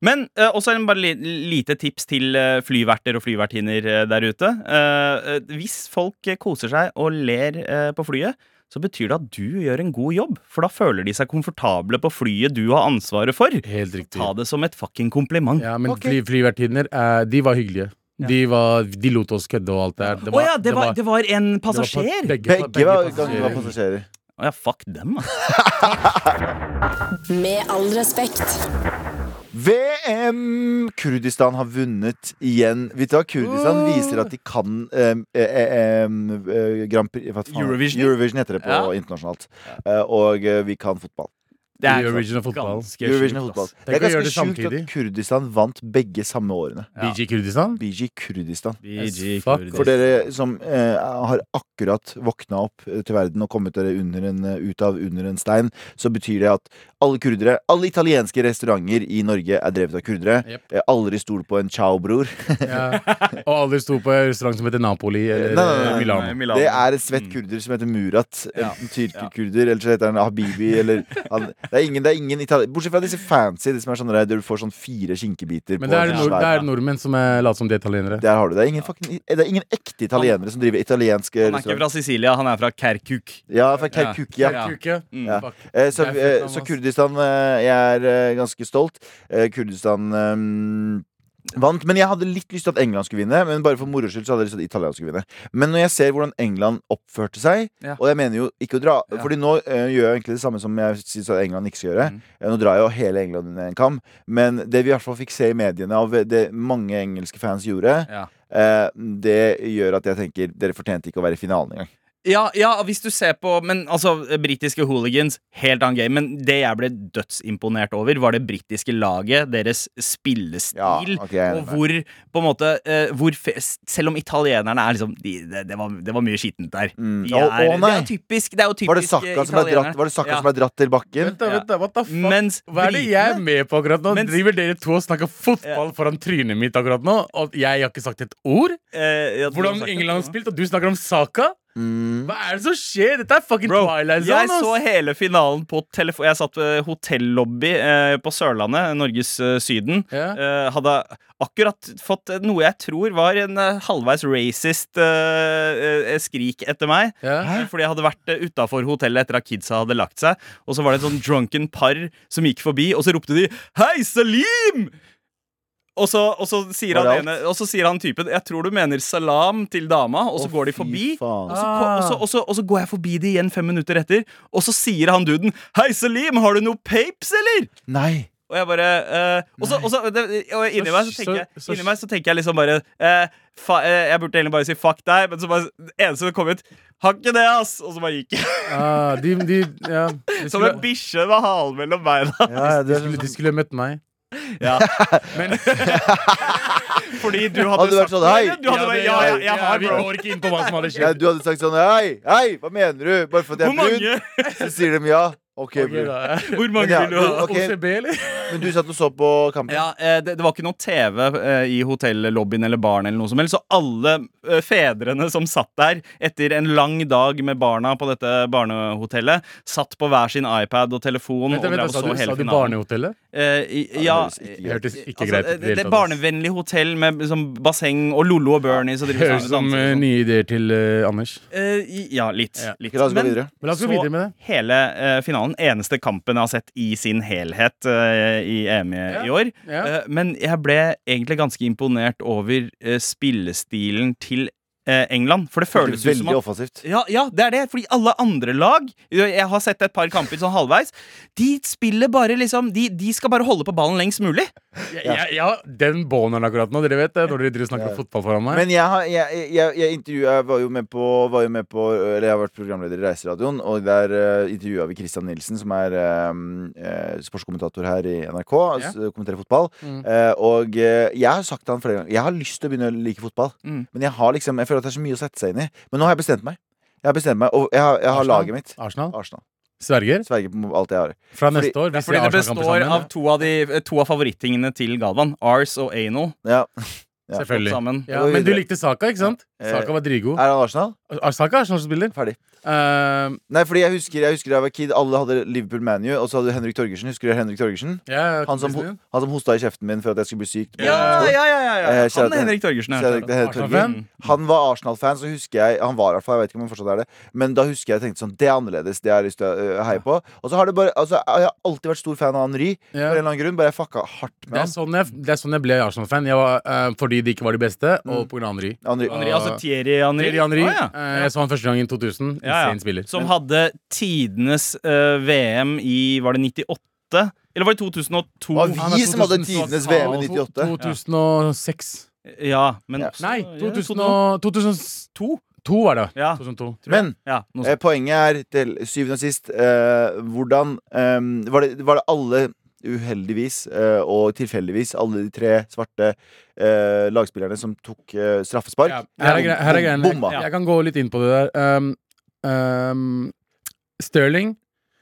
Speaker 3: Men eh, også en bare li lite tips til eh, flyverter og flyvertinner eh, der ute. Eh, eh, hvis folk eh, koser seg og ler eh, på flyet, så betyr det at du gjør en god jobb. For da føler de seg komfortable på flyet du har ansvaret for.
Speaker 2: Helt riktig.
Speaker 3: Ta det som et fucking kompliment.
Speaker 2: Ja, men
Speaker 4: Ok.
Speaker 2: fly, flyvertinner, eh, de var hyggelige.
Speaker 3: Ja.
Speaker 2: De, var, de lot oss kødde og alt det der.
Speaker 3: Å ja, det var, det var en
Speaker 2: det var pa-
Speaker 3: passasjer!
Speaker 2: Begge, pa-
Speaker 4: Begge var,
Speaker 2: passasjerer.
Speaker 4: var passasjerer.
Speaker 3: Å ja, fuck dem, altså.
Speaker 1: Med all respekt.
Speaker 4: VM! Kurdistan har vunnet igjen. Vet du hva? Kurdistan
Speaker 2: Uh.
Speaker 4: viser at de kan eh, eh, eh, eh, Grand Prix hva faen?
Speaker 3: Eurovision.
Speaker 4: Eurovision heter det på
Speaker 3: Ja.
Speaker 4: internasjonalt. Eh, og eh, vi kan fotball.
Speaker 3: Det er
Speaker 2: Eurovision og fotball.
Speaker 3: ganske-
Speaker 4: Eurovision og fotball. Det er
Speaker 2: Tenk å gjøre
Speaker 4: ganske
Speaker 2: det
Speaker 4: sjukt at
Speaker 2: samtidig.
Speaker 4: Kurdistan vant begge samme årene.
Speaker 3: Ja.
Speaker 2: BG Kurdistan?
Speaker 4: BG Kurdistan.
Speaker 3: BG
Speaker 2: Fuck.
Speaker 3: Kurdistan.
Speaker 4: For dere som eh, har akkurat våkna opp eh, til verden og kommet dere under en, eh, ut av under en stein, så betyr det at alle kurdere, alle italienske restauranter i Norge er drevet av kurdere.
Speaker 2: Jep.
Speaker 4: Eh, Aldri stol på en ciao-bror.
Speaker 2: Ja. Og alle sto på en restaurant som heter Napoli eller
Speaker 4: Nei, nei, nei,
Speaker 2: eh, Milano.
Speaker 3: Nei, Milano. Mm.
Speaker 4: Det er en svett kurder som heter Murat.
Speaker 3: Ja.
Speaker 4: Enten tyrkerkurder, eller så heter han Habibi, eller han, Det er ingen, det er ingen itali- Bortsett fra disse fancy, de som er sånn der der du får sånn fire skinkebiter
Speaker 2: Men
Speaker 4: på
Speaker 2: det er,
Speaker 4: en
Speaker 2: nord,
Speaker 4: svær-
Speaker 2: det er nordmenn som er later som de er italienere.
Speaker 4: Der har du det. Det er ingen, fucking, det er ingen ekte italienere som driver italiensk
Speaker 3: Han er ikke fra
Speaker 4: restaurant.
Speaker 3: Sicilia, han er fra Kerkuk.
Speaker 4: Ja, fra Kaukukia.
Speaker 3: Ja.
Speaker 2: Kuke.
Speaker 3: Mm.
Speaker 2: Fuck.
Speaker 4: Eh, Så,
Speaker 2: Det er fett,
Speaker 4: eh, så
Speaker 2: ass.
Speaker 4: Kurdistan eh, Jeg er eh, ganske stolt. Eh, Kurdistan eh, vant. Men jeg hadde litt lyst til at England skulle vinne. Men bare for moro skyld så hadde jeg lyst til at Italia skulle vinne. Men når jeg ser hvordan England oppførte seg,
Speaker 3: Ja.
Speaker 4: og jeg mener jo ikke å dra
Speaker 3: Ja.
Speaker 4: Fordi nå eh, gjør jeg egentlig det samme som jeg syns England ikke skal gjøre.
Speaker 3: Mm.
Speaker 4: Eh, Nå drar jeg jo hele England under en kam. Men det vi i hvert fall fikk se i mediene av det mange engelske fans gjorde,
Speaker 3: Ja.
Speaker 4: eh, det gjør at jeg tenker dere fortjente ikke å være i finalen engang.
Speaker 3: Ja, ja, hvis du ser på Men altså, britiske hooligans, helt annen game. Men det jeg ble dødsimponert over, var det britiske laget, deres
Speaker 4: Ja,
Speaker 3: spillestil.
Speaker 4: ok, jeg er
Speaker 3: og
Speaker 4: enig med.
Speaker 3: hvor, på en måte eh, hvor, fe- s- Selv om italienerne er liksom de, det, det, var, det var mye skittent der.
Speaker 4: Mm.
Speaker 3: De
Speaker 4: Å,
Speaker 3: er,
Speaker 4: å,
Speaker 3: det
Speaker 4: nei.
Speaker 3: er jo typisk, det er jo typisk
Speaker 4: Var det Sakka som ble dratt, var det Saka som ble dratt til bakken?
Speaker 2: Vent da, vent da, what the fuck?
Speaker 3: Mens
Speaker 2: Hva er det jeg er
Speaker 3: britene
Speaker 2: med på akkurat nå?
Speaker 3: Mens-
Speaker 2: Driver dere to og snakker fotball foran trynet mitt akkurat nå? Og jeg har ikke sagt et ord?
Speaker 3: eh, ja,
Speaker 2: Hvordan
Speaker 3: Saka-
Speaker 2: England har spilt, og du snakker om Saka?
Speaker 4: Mm.
Speaker 2: Hva er det som skjer? Dette er fucking
Speaker 3: Bro,
Speaker 2: Twilight
Speaker 3: jeg
Speaker 2: Zone!
Speaker 3: så
Speaker 2: ass.
Speaker 3: hele finalen på telefon... Jeg satt ved hotellobby eh, på Sørlandet, Norges eh, Syden.
Speaker 2: Ja.
Speaker 3: Eh, hadde akkurat fått noe jeg tror var en eh, halvveis racist eh, eh, skrik etter meg.
Speaker 2: Ja.
Speaker 3: Fordi jeg hadde vært uh, utafor hotellet etter at kidsa hadde lagt seg. Og så var det et sånn drunken par som gikk forbi, og så ropte de 'Hei, Salim!' Og så, og, så sier
Speaker 4: Var
Speaker 3: han
Speaker 4: det
Speaker 3: ene, og så sier han typen 'Jeg tror du mener salam til dama', og så
Speaker 4: Å,
Speaker 3: går de
Speaker 4: fy
Speaker 3: forbi.
Speaker 4: faen.
Speaker 3: Og så, ko- og, så,
Speaker 2: Ah.
Speaker 3: og, så, og så går jeg forbi de igjen fem minutter etter, og så sier han duden 'Hei, Salim, har du noe papes, eller?'
Speaker 4: Nei.
Speaker 3: Og jeg bare eh, og så- og så- det- og inni meg så
Speaker 2: Så-
Speaker 3: tenker jeg,
Speaker 2: så-
Speaker 3: inni meg så tenker jeg liksom bare eh, fa, eh, Jeg burde egentlig bare si fuck deg, men så bare det eneste som kom ut, har ikke det, ass! Og så bare gikk jeg.
Speaker 2: Ah, de, de, ja. de,
Speaker 3: Som en
Speaker 2: skulle,
Speaker 3: bikkje med halen mellom beina.
Speaker 2: de,
Speaker 4: Ja, det er
Speaker 2: skulle, de
Speaker 4: sånn,
Speaker 2: skulle møtt meg.
Speaker 3: Ja.
Speaker 2: Men
Speaker 3: Fordi du hadde,
Speaker 4: Hadde du vært
Speaker 3: sagt
Speaker 4: sånn, hei?
Speaker 3: Du hadde bare, ja, ja, jeg, har
Speaker 2: Vi
Speaker 3: bro.
Speaker 2: går ikke inn på hva som hadde
Speaker 4: ja,
Speaker 2: skjedd.
Speaker 4: du hadde sagt sånn Hei, hei, hva mener du? Bare fordi jeg
Speaker 3: Hvor
Speaker 4: er brun,
Speaker 3: mange,
Speaker 4: så sier de ja. OK,
Speaker 2: Ok,
Speaker 4: brun.
Speaker 2: da.
Speaker 3: hvor mange
Speaker 4: Ja,
Speaker 3: vil du ha?
Speaker 4: ok.
Speaker 2: OCB, eller?
Speaker 4: Men du satt og så på kampen.
Speaker 3: Ja, eh, det, det var ikke noe TV eh, i hotellobbyen eller baren, eller noe som helst, så alle eh, fedrene som satt der etter en lang dag med barna på dette barnehotellet, satt på hver sin iPad og telefon
Speaker 2: Vent, vent,
Speaker 3: og drev
Speaker 2: sa
Speaker 3: og
Speaker 2: du,
Speaker 3: så
Speaker 2: sa
Speaker 3: hele
Speaker 2: du
Speaker 3: finalen.
Speaker 2: Barnehotellet?
Speaker 3: Eh, i-
Speaker 4: det
Speaker 3: ja,
Speaker 4: høres ikke
Speaker 2: Det
Speaker 4: greit ut.
Speaker 2: hørtes ikke
Speaker 3: altså,
Speaker 2: greit
Speaker 3: eh,
Speaker 2: ut.
Speaker 3: det, det er barnevennlig hotell med liksom, basseng og Lollo og Bernie. Så driver
Speaker 2: Høres
Speaker 3: vi
Speaker 2: ut som
Speaker 3: sammen og
Speaker 2: eh,
Speaker 3: danser og sånn.
Speaker 2: nye ideer til eh, Anders.
Speaker 3: Eh, i- ja, litt.
Speaker 2: Ja.
Speaker 3: litt.
Speaker 4: Ok, La oss gå
Speaker 3: Men-
Speaker 4: videre.
Speaker 2: Men la oss gå
Speaker 3: Så-
Speaker 2: videre med det.
Speaker 3: hele eh, finalen. Eneste kampen jeg har sett i sin helhet eh, i EM i,
Speaker 2: Ja,
Speaker 3: i år.
Speaker 2: ja.
Speaker 3: Eh, men jeg ble egentlig ganske imponert over eh, spillestilen til eh, England. For det føles ut som
Speaker 4: Veldig
Speaker 3: at
Speaker 4: offensivt.
Speaker 3: ja, ja, det er det. Fordi alle andre lag Jeg har sett et par kamper sånn halvveis. De spiller bare liksom De, de skal bare holde på ballen lengst mulig.
Speaker 2: Ja, ja, ja, den boneren akkurat nå, dere vet det, når dere driver og snakker
Speaker 4: Ja.
Speaker 2: fotball foran meg.
Speaker 4: Men jeg, har- jeg, jeg, jeg intervjuet Jeg var jo med på, var jo med på Eller jeg har vært programleder i Reiseradioen, og der uh, intervjua vi Christian Nilsen, som er eh, eh, sportskommentator her i NRK.
Speaker 2: Ja. Mm.
Speaker 4: s- Kommenterer fotball. Eh, og eh, jeg har sagt til han flere ganger Jeg har lyst til å begynne å like fotball,
Speaker 3: Mm.
Speaker 4: men jeg har liksom Jeg føler at det er så mye å sette seg inn i. Men nå har jeg bestemt meg. Jeg har bestemt meg, Og jeg har, jeg har
Speaker 2: Arsenal?
Speaker 4: laget mitt.
Speaker 2: Arsenal?
Speaker 4: Arsenal.
Speaker 2: Sverger?
Speaker 4: Sverger på alt jeg har.
Speaker 2: Fra
Speaker 4: Fordi-
Speaker 2: neste år? Hvis
Speaker 3: Fordi
Speaker 2: vi
Speaker 3: det
Speaker 2: har Arsenal-kamper
Speaker 3: består
Speaker 2: sammen,
Speaker 3: av to av, de, eh, to av favorittingene til Galvan. Ars og Anal.
Speaker 4: Ja.
Speaker 2: ja.
Speaker 4: ja.
Speaker 2: Selvfølgelig.
Speaker 3: Sammen.
Speaker 2: Ja,
Speaker 4: Gå
Speaker 2: men du
Speaker 4: videre.
Speaker 2: likte Saka, ikke sant?
Speaker 4: Ja. Eh,
Speaker 2: Saka var dritgod.
Speaker 4: Er han Arsenal?
Speaker 2: Ar- Saka er Arsenal-spiller.
Speaker 4: Ferdig.
Speaker 2: Eh,
Speaker 4: Nei, fordi jeg husker, jeg husker da jeg var kid, alle hadde Liverpool Manu, og så hadde du Henrik Torgersen. Husker du Henrik Torgersen?
Speaker 2: ja,
Speaker 4: Han som,
Speaker 2: kompisen din.
Speaker 4: han som hosta i kjeften min for at jeg skulle bli syk. på
Speaker 3: Ja,
Speaker 4: ungdomsskolen.
Speaker 3: ja, ja, ja, ja.
Speaker 4: Eh, kjære
Speaker 3: Han
Speaker 4: til-
Speaker 3: er Henrik Torgersen.
Speaker 4: Så jeg
Speaker 3: ja.
Speaker 4: tenkte, Henrik Torgersen.
Speaker 2: Arsenal-fan?
Speaker 4: Han var Arsenal-fan, så husker jeg Han var i hvert fall, jeg vet ikke om han fortsatt er det. Men da husker jeg jeg tenkte sånn Det er annerledes, det har jeg lyst til å øh, heie på. Og så har det bare Altså, jeg har alltid vært stor fan av Henry,
Speaker 2: Ja.
Speaker 4: for en eller annen grunn. Bare jeg fucka hardt med
Speaker 2: Det er
Speaker 4: han.
Speaker 2: sånn jeg, det er sånn jeg ble Arsenal-fan. Jeg var, eh, fordi de ikke var de beste,
Speaker 4: Mm.
Speaker 2: og pga. Henry.
Speaker 4: Henry-
Speaker 3: Henri, altså Thierry Henri.
Speaker 2: Thierry Henry.
Speaker 3: Å, ja.
Speaker 2: eh, Jeg så han første gang i 2000. Insane
Speaker 3: Ja, ja.
Speaker 2: spiller.
Speaker 3: Som hadde tidenes eh, VM i Var det 98? Eller var det 2002?
Speaker 4: Hva vi-
Speaker 2: Han er
Speaker 4: som hadde
Speaker 2: 2000
Speaker 4: tidenes VM i 98.
Speaker 2: 2006.
Speaker 3: Ja, men
Speaker 4: Ja.
Speaker 3: også-
Speaker 2: Nei,
Speaker 3: ja,
Speaker 2: 2000
Speaker 3: 2002.
Speaker 2: og- 2002 var det.
Speaker 3: Ja.
Speaker 2: 2002. tror jeg.
Speaker 4: Men
Speaker 3: Ja, noe
Speaker 4: eh,
Speaker 3: sånt.
Speaker 4: poenget er, til syvende og sist, eh, hvordan eh, var, det, var det alle Uheldigvis eh, og tilfeldigvis alle de tre svarte eh, lagspillerne som tok eh, straffespark.
Speaker 2: Ja, her er, grei- her er greiene.
Speaker 4: Bomma.
Speaker 2: Jeg, jeg kan gå litt inn på det der. Um, um, Sterling,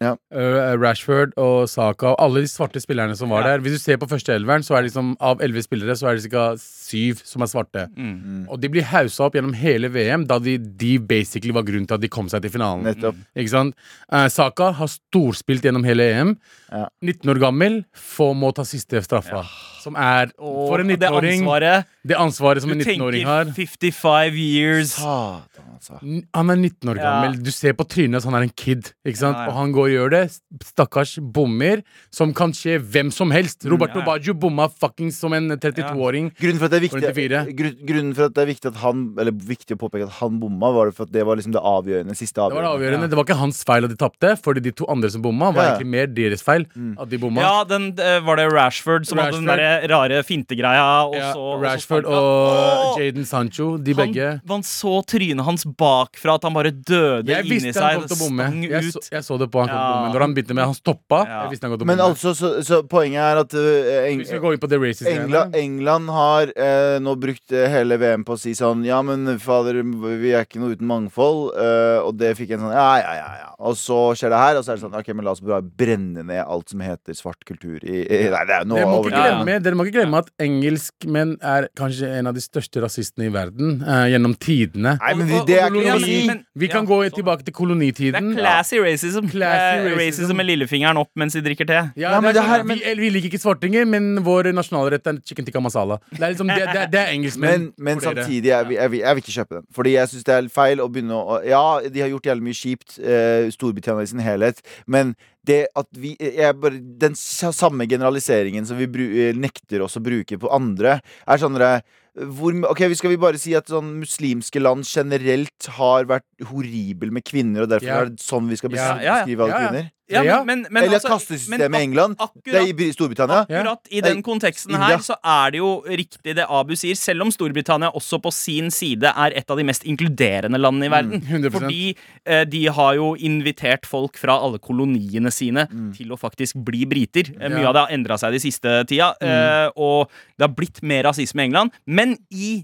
Speaker 4: Ja.
Speaker 2: uh, Rashford og Saka og alle de svarte spillerne som var
Speaker 3: Ja.
Speaker 2: der. Hvis du ser på første elveren, så er det liksom av elleve spillere så er det ca. syv som er svarte.
Speaker 3: Mm.
Speaker 2: Og de blir haussa opp gjennom hele VM, da de, de basically var grunnen til at de kom seg til finalen.
Speaker 4: Nettopp.
Speaker 2: Ikke sant? Eh, Saka har storspilt gjennom hele EM.
Speaker 4: Ja.
Speaker 2: 19 år gammel, få må ta siste straffa. Som er
Speaker 3: Og
Speaker 2: For en
Speaker 3: det
Speaker 2: 19-åring.
Speaker 3: ansvaret
Speaker 2: Det ansvaret som
Speaker 3: Du
Speaker 2: en 19-åring har.
Speaker 3: tenker 55
Speaker 2: Mm.
Speaker 3: years.
Speaker 4: Satan, altså.
Speaker 2: N- Han er 19 år
Speaker 3: Ja.
Speaker 2: gammel. Du ser på trynet hans, han er en kid. Ikke sant?
Speaker 3: Ja, ja.
Speaker 2: Og han går og gjør det. Stakkars bommer, som kan skje hvem som helst. Roberto
Speaker 3: Mm, ja, ja.
Speaker 2: Baggio bomma fuckings som en 32-åring.
Speaker 4: Grunnen for, at det er viktig,
Speaker 2: 44.
Speaker 4: grunn, grunnen for at det er viktig at han Eller viktig å påpeke at han bomma, var det for at det var liksom det avgjørende. Siste
Speaker 2: Det var det
Speaker 4: avgjørende.
Speaker 2: avgjørende. Det var ikke hans feil at de tapte, fordi de to andre som bomma, var
Speaker 4: Ja.
Speaker 2: egentlig mer deres feil at de bomma.
Speaker 3: Mm. Ja, den, eh, var det Rashford som hadde den
Speaker 2: Rashford.
Speaker 3: der rare fintegreia? Og
Speaker 2: Ja,
Speaker 3: så, og så
Speaker 2: Rashford
Speaker 3: sparket
Speaker 2: og
Speaker 3: han. Åh!
Speaker 2: Jaden Sancho, de begge.
Speaker 3: Han, man så trynet hans bakfra, at han bare døde
Speaker 2: Jeg
Speaker 3: inni
Speaker 2: visste han kom
Speaker 3: seg. Det
Speaker 2: til å bomme.
Speaker 3: stang
Speaker 2: Jeg så,
Speaker 3: ut.
Speaker 2: jeg så det på han kom til å
Speaker 3: Ja.
Speaker 2: bomme. Når han begynte med Han stoppa.
Speaker 3: Ja.
Speaker 2: Jeg visste han kom til å
Speaker 4: Men
Speaker 2: bomme.
Speaker 4: altså, så, så poenget er at øh, Eng
Speaker 2: Vi skal gå inn på the racist
Speaker 4: England, England har eh, nå brukt eh, hele VM på å si sånn Ja, men fader, vi er ikke noe uten mangfold. eh, og det fikk en sånn Ja, ja, ja. ja Og så skjer det her, og så er det sånn OK, men la oss bare brenne ned alt som heter svart kultur i, i Nei, det er jo noe
Speaker 2: Dere må, ikke
Speaker 4: over-
Speaker 3: Ja, ja.
Speaker 2: glemme, dere må ikke glemme at engelskmenn er kanskje en av de største rasistene i verden eh, gjennom tidene.
Speaker 4: Nei, men vi,
Speaker 3: Og- og-
Speaker 4: det
Speaker 3: og-
Speaker 4: er ikke
Speaker 3: ja,
Speaker 4: noe å
Speaker 3: men-
Speaker 4: si.
Speaker 3: men-
Speaker 2: Vi kan
Speaker 3: ja,
Speaker 2: gå
Speaker 3: sånn.
Speaker 2: tilbake til
Speaker 3: Det er
Speaker 2: kolonitiden.
Speaker 3: classy racism.
Speaker 2: Classy
Speaker 3: Eh,
Speaker 2: racism.
Speaker 3: racism med lillefingeren opp mens de drikker te.
Speaker 2: Ja,
Speaker 4: Ja, men
Speaker 2: det er
Speaker 4: det her-
Speaker 2: sånn,
Speaker 4: men-
Speaker 2: vi, eller vi liker ikke svartinger, men vår nasjonalrett er chicken tikka masala. Det er, liksom, det, det, det er engelskmenn.
Speaker 4: Men, men
Speaker 2: for dere.
Speaker 4: samtidig, jeg, vil- jeg, vil- jeg vil ikke kjøpe den. Fordi jeg syns det er feil å begynne å Ja, de har gjort jævlig mye kjipt, eh, Storbritannia i sin helhet, men det at vi jeg bare, Den s- samme generaliseringen som vi bru, eh, nekter oss å bruke på andre, er sånn derre hvor, ok, vi Skal vi bare si at sånn muslimske land generelt har vært horrible med kvinner, og derfor
Speaker 2: Ja.
Speaker 4: er det sånn vi skal bes-
Speaker 2: Ja,
Speaker 3: ja, ja.
Speaker 4: beskrive alle
Speaker 2: Ja, ja.
Speaker 4: kvinner?
Speaker 3: Ja,
Speaker 2: Ja.
Speaker 3: men, men, men,
Speaker 4: Eller
Speaker 3: altså,
Speaker 4: kastesystemet
Speaker 3: men
Speaker 4: i England.
Speaker 3: ak-
Speaker 4: Det er i
Speaker 3: Akkurat,
Speaker 4: Bry- Storbritannia.
Speaker 3: akkurat i
Speaker 4: Nei,
Speaker 3: den konteksten
Speaker 4: India.
Speaker 3: her så er det jo riktig det Abu sier, selv om Storbritannia også på sin side er et av de mest inkluderende
Speaker 2: Mm,
Speaker 3: landene i verden.
Speaker 2: 100%.
Speaker 3: Fordi eh, de har jo invitert folk fra alle koloniene sine til å faktisk bli briter. Eh, Mye
Speaker 2: Mm. Ja. Mm.
Speaker 3: av det har endra seg de siste tida, eh, og det har blitt mer rasisme i England. Men i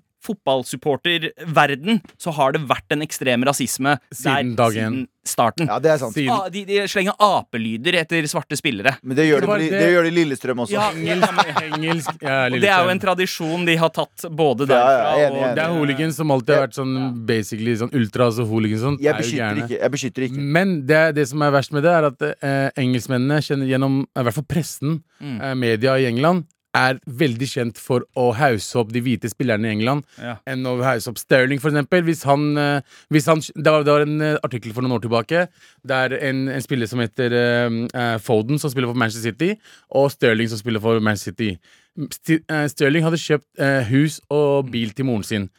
Speaker 3: fotballsupporterverden så har det vært en ekstrem rasisme
Speaker 2: Siden
Speaker 3: der
Speaker 2: dag én.
Speaker 3: siden starten.
Speaker 4: Ja, det er sant.
Speaker 2: Siden
Speaker 3: Ah, de, de slenger apelyder etter svarte spillere.
Speaker 4: Men det gjør
Speaker 2: Det
Speaker 4: det,
Speaker 2: var
Speaker 4: det,
Speaker 2: det-
Speaker 4: det gjør det i Lillestrøm også.
Speaker 3: Ja,
Speaker 2: Engelsk, engelsk ja,
Speaker 3: Og det er jo en
Speaker 2: Lillestrøm.
Speaker 3: tradisjon de har tatt både
Speaker 4: Ja, ja,
Speaker 3: derfra
Speaker 4: jeg er enig, jeg er
Speaker 3: og
Speaker 2: Det er hooligans som alltid har vært sånn basically sånn ultras og hooligans og sånn.
Speaker 4: Jeg
Speaker 2: er jo Mm. gærne.
Speaker 4: beskytter ikke. Jeg beskytter ikke.
Speaker 2: Men det, er- det som er verst med det, er at eh, engelskmennene, kjenner gjennom eh, i hvert fall pressen,
Speaker 3: Mm.
Speaker 2: eh, media i England, er veldig kjent for å hausse opp de hvite spillerne i England.
Speaker 3: Ja.
Speaker 2: Enn å hausse opp Sterling, for eksempel. Hvis han, eh, hvis han det, var, det var en eh, artikkel for noen år tilbake der en, en spiller som heter eh, eh, Foden, som spiller for Manchester City, og Sterling, som spiller for Manchester City. Sti- eh, Sterling hadde kjøpt eh, hus og bil til moren sin.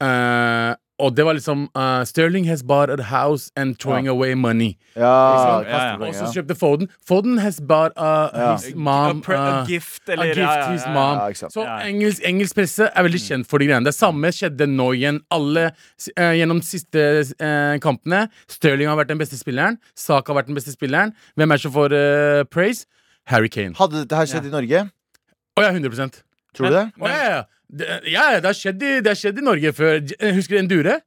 Speaker 2: Eh, og det var liksom eh, Sterling has bought a house and throwing away money.
Speaker 4: Ja,
Speaker 2: Ikke sant?
Speaker 3: Ja, ja.
Speaker 2: Og
Speaker 4: kastepoeng,
Speaker 2: så
Speaker 4: Ah, ja.
Speaker 2: kjøpte Foden. Foden has bought uh,
Speaker 4: Ja.
Speaker 2: his mom
Speaker 3: pre-
Speaker 2: uh,
Speaker 3: a gift,
Speaker 2: a
Speaker 3: eller
Speaker 2: gift
Speaker 3: ja, ja,
Speaker 2: to his
Speaker 3: ja, ja.
Speaker 2: mom.
Speaker 4: Ja, ikke sant.
Speaker 2: så
Speaker 3: Ja.
Speaker 2: engelsk, engelsk presse er veldig kjent for de greiene. Det samme skjedde nå igjen. Alle s- eh, gjennom de siste eh, kampene. Sterling har vært den beste spilleren. Saka har vært den beste spilleren. Hvem er det som får eh, praise? Harry Kane.
Speaker 4: Hadde dette her skjedd i Norge?
Speaker 2: Å ja, 100
Speaker 4: Tror du det?
Speaker 2: Å, ja, ja. Det, ja, ja, det har skjedd i, det har skjedd i Norge før. J- Husker du Endure?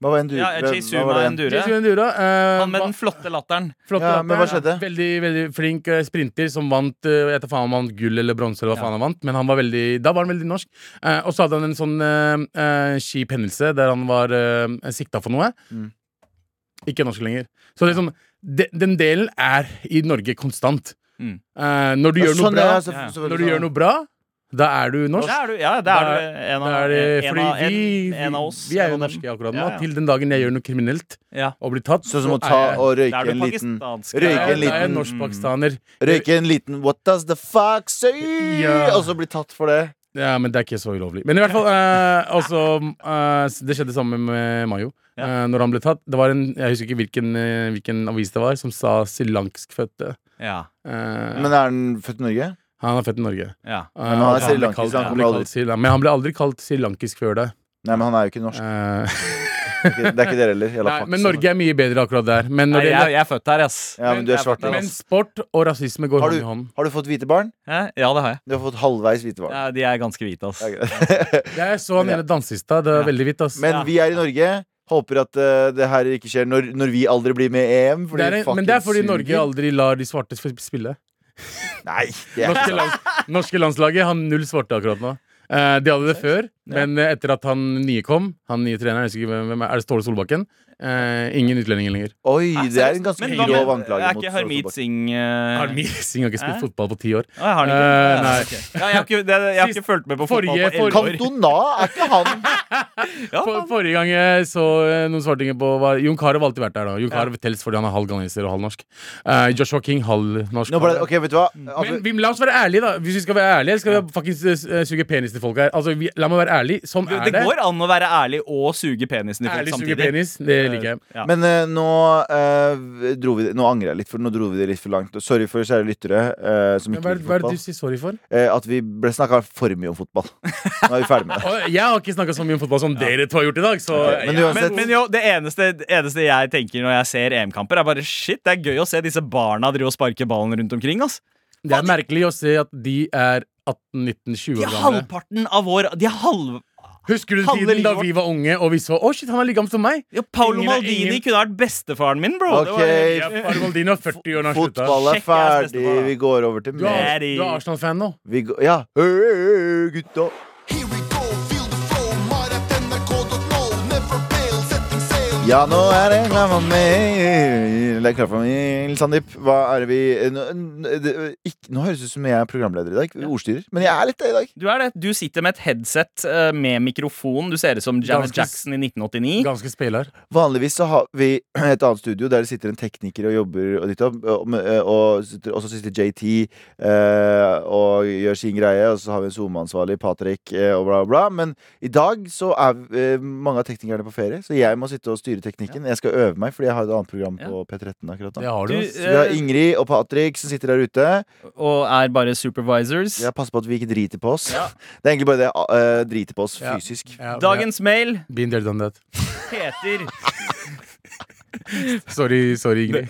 Speaker 4: Hva var en du?
Speaker 3: Ja,
Speaker 4: hvem- hva var
Speaker 3: Jisuma
Speaker 4: det?
Speaker 3: Endure.
Speaker 2: Jesus Endure eh,
Speaker 3: Han med
Speaker 2: hva-
Speaker 3: den flotte latteren.
Speaker 2: Flott
Speaker 4: Ja,
Speaker 2: latter.
Speaker 4: men hva skjedde?
Speaker 2: Veldig veldig flink eh, sprinter som vant eh, Jeg vet ikke faen om han vant gull eller bronse, eller hva
Speaker 3: Ja.
Speaker 2: faen han vant, men han var veldig, da var han veldig norsk. Eh, og så hadde han en sånn eh, eh, kjip hendelse der han var eh, sikta for noe.
Speaker 4: Mm.
Speaker 2: Ikke norsk lenger. Så det er sånn, de, den delen er i Norge konstant.
Speaker 3: Mm.
Speaker 2: Eh, når du
Speaker 4: Ja,
Speaker 2: gjør noe
Speaker 4: sånn,
Speaker 2: bra,
Speaker 4: ja, så-
Speaker 3: Ja.
Speaker 4: så-
Speaker 2: når du gjør noe bra, da er du norsk.
Speaker 3: Der er du, ja, det er du en
Speaker 2: Da er
Speaker 3: av,
Speaker 2: det-
Speaker 3: en,
Speaker 2: fordi
Speaker 3: av, en,
Speaker 2: vi-
Speaker 3: en av oss.
Speaker 2: Vi er
Speaker 3: en
Speaker 2: jo
Speaker 3: av dem.
Speaker 2: norske akkurat nå.
Speaker 3: Ja, ja.
Speaker 2: Til den dagen jeg gjør noe kriminelt
Speaker 3: Ja.
Speaker 2: og blir tatt,
Speaker 4: Sånn som å
Speaker 2: så
Speaker 4: ta
Speaker 2: er jeg-
Speaker 4: og
Speaker 3: Da
Speaker 4: røyke
Speaker 3: er
Speaker 4: en
Speaker 3: du
Speaker 4: liten
Speaker 3: pakistansk.
Speaker 2: da
Speaker 4: røyke
Speaker 2: er
Speaker 4: en
Speaker 2: jeg- da er jeg
Speaker 4: liten-
Speaker 2: norsk-pakistaner.
Speaker 4: Røyke en liten What does the fuck say?
Speaker 2: Ja.
Speaker 4: Og så bli tatt for det.
Speaker 2: Ja, men det er ikke så ulovlig. Men i hvert fall eh, altså, eh, s- Det skjedde samme med Mayo.
Speaker 3: Ja.
Speaker 2: Eh, når han ble tatt. Det var en, jeg husker ikke hvilken, eh, hvilken avis det var, som sa srilankskfødte.
Speaker 3: Ja,
Speaker 2: Eh,
Speaker 4: Men er den født i Norge?
Speaker 2: han er født i Norge.
Speaker 3: ja.
Speaker 2: Eh,
Speaker 4: han er
Speaker 2: og ble
Speaker 4: srilankisk,
Speaker 2: kalt-
Speaker 4: han
Speaker 2: han
Speaker 4: kommer
Speaker 2: ble
Speaker 4: aldri-
Speaker 2: kalt srilan- Men han ble aldri kalt srilankisk før det.
Speaker 4: Nei, men han er jo ikke norsk.
Speaker 2: Eh,
Speaker 4: Det er ikke- Det er sånn. ikke dere heller. Jævla
Speaker 2: nei,
Speaker 4: faks.
Speaker 2: men Norge er mye bedre akkurat der. Men, når
Speaker 3: Nei,
Speaker 2: det,
Speaker 3: jeg, jeg er født her, ass.
Speaker 4: Ja, men du er svart.
Speaker 2: gjelder-
Speaker 4: der,
Speaker 2: men
Speaker 4: ass.
Speaker 2: sport og rasisme går
Speaker 4: Har
Speaker 2: hånd
Speaker 4: du-
Speaker 2: i hånd.
Speaker 4: Har du fått hvite barn?
Speaker 3: Hæ? Ja, det har jeg.
Speaker 4: Du har fått halvveis hvite barn.
Speaker 3: Ja, de er ganske hvite, ass.
Speaker 4: Det er greit.
Speaker 2: Jeg så han ene dansista. Det var veldig hvitt, ass.
Speaker 4: Men
Speaker 3: Ja.
Speaker 4: vi er i Norge. Håper at eh, det her ikke skjer når, når vi aldri blir med i EM.
Speaker 2: det er, en- men det er fordi
Speaker 4: fucking
Speaker 2: Norge
Speaker 4: suger.
Speaker 2: aldri lar de svarte sp- spille.
Speaker 4: Nei, det er
Speaker 2: Norske,
Speaker 4: ikke sant.
Speaker 2: lands, norske landslaget har null svarte akkurat nå. Eh, de hadde det før, men eh, etter at han nye kom Han nye treneren, jeg husker ikke hvem- hvem er er det Ståle Solbakken? Eh, ingen utlendinger lenger.
Speaker 4: Oi,
Speaker 3: Nei,
Speaker 4: det er en
Speaker 3: seriøst.
Speaker 4: ganske
Speaker 3: Men hva
Speaker 4: grov
Speaker 3: med-
Speaker 4: anklage
Speaker 3: Er
Speaker 4: mot
Speaker 3: ikke
Speaker 4: Ståle
Speaker 3: Harmeet
Speaker 4: Solbakken.
Speaker 3: Singh eh,
Speaker 2: Har Missing har ikke
Speaker 3: Hæ?
Speaker 2: spilt fotball på ti år.
Speaker 3: Å, jeg har den
Speaker 2: Eh,
Speaker 3: ikke.
Speaker 2: nei.
Speaker 3: Ja, jeg, har ikke, det, jeg har ikke fulgt med på fotball
Speaker 2: Forrige-
Speaker 3: på elleve år.
Speaker 4: Cantona, er ikke han
Speaker 3: Ja,
Speaker 2: For, forrige gang jeg så eh, noen svartinger på var, Jon Carew har alltid vært der. da Jon Carew tels fordi han er halv ganeser og halv norsk. Eh, Joshua King halv norsk.
Speaker 4: Nå ble det, Ok, vet du hva?
Speaker 2: men
Speaker 4: Altså,
Speaker 2: vi, la oss være ærlige, da. Hvis vi skal være ærlige, skal vi faktisk eh, suge penis til folk her. Altså, vi, la meg være ærlig. Sånn
Speaker 3: Det,
Speaker 2: er
Speaker 3: det går an å være ærlig og suge penisen i folk
Speaker 2: Ærlig suge
Speaker 3: samtidig.
Speaker 2: penis, det liker jeg.
Speaker 3: Ja.
Speaker 4: men eh, nå, eh, dro vi, nå angrer jeg litt, for nå dro vi det litt for langt. Og Sorry for kjære lyttere eh, som
Speaker 2: Men
Speaker 4: ikke
Speaker 2: Hva er
Speaker 4: liker
Speaker 2: hva er det
Speaker 4: fotball.
Speaker 2: du sier sorry for?
Speaker 4: Eh, at vi ble snakka for mye om fotball. Nå er vi ferdig med det.
Speaker 2: Og jeg har ikke snakka så mye om fotball som dere to har gjort i dag. Så
Speaker 4: Ok, men uansett-
Speaker 3: Men, men jo, det eneste, det eneste jeg tenker når jeg ser EM-kamper, er bare shit, det er gøy å se disse barna drive og sparke ballen rundt omkring. ass
Speaker 2: Det er merkelig å se at de er 18-19-20
Speaker 3: De
Speaker 2: år
Speaker 3: er
Speaker 2: gamle.
Speaker 3: halvparten av vår De er halv...
Speaker 2: Husker du
Speaker 3: halve
Speaker 2: tiden da
Speaker 3: livet
Speaker 2: vi var unge og vi så Å, shit, han er like gammel som meg!
Speaker 3: Ja, Paolo
Speaker 2: Ingen er-
Speaker 3: Maldini
Speaker 2: ingen-
Speaker 3: kunne vært bestefaren min, bro. Det
Speaker 4: Ok,
Speaker 3: var-
Speaker 2: Ja, Arnoldino er 40 år når han slutta.
Speaker 4: fotball er
Speaker 3: Sjekk ass,
Speaker 4: ferdig.
Speaker 3: bestefar.
Speaker 4: Vi går over til
Speaker 2: Du er,
Speaker 4: mer.
Speaker 3: Daddy.
Speaker 2: du er Arsenal-fan nå.
Speaker 4: Vi går, ja. Hey, gutta.
Speaker 5: Here we go, feel the flow, mar.nrk.no, never fail, setting sail.
Speaker 4: Ja, nå er det klar for meg. Det er klar for meg. Sandeep, hva er det vi Nå, det- ikke, nå høres det ut som jeg er programleder i dag. Ordstyrer. Men jeg er litt det i dag.
Speaker 3: Du er det. Du sitter med et headset eh, med mikrofon. Du ser ut som Janet
Speaker 2: Ganske s-
Speaker 3: Jackson i 1989.
Speaker 2: Ganske speiler.
Speaker 4: Vanligvis så har vi et annet studio der det sitter en tekniker og jobber, og, ditt, og, og, og, sitter- og så sitter JT eh, og gjør sin greie, og så har vi en SoMe-ansvarlig, Patrick, eh, og bla, bla. Men i dag så er eh, mange av teknikerne på ferie, så jeg må sitte og styre styreteknikken. Jeg skal øve meg, fordi jeg har et annet program på P13 akkurat
Speaker 2: Det
Speaker 4: nå.
Speaker 2: har du.
Speaker 3: Du, eh,
Speaker 2: ass.
Speaker 4: Så vi har Ingrid og Patrick som sitter der ute.
Speaker 3: og er bare supervisors.
Speaker 4: Jeg passer på at vi ikke driter på oss. Det er egentlig bare det. eh, driter på oss
Speaker 2: Ja.
Speaker 4: fysisk.
Speaker 2: Ja,
Speaker 3: Dagens mail
Speaker 2: ja. Been there, done that.
Speaker 3: heter
Speaker 2: Sorry, sorry Ingrid.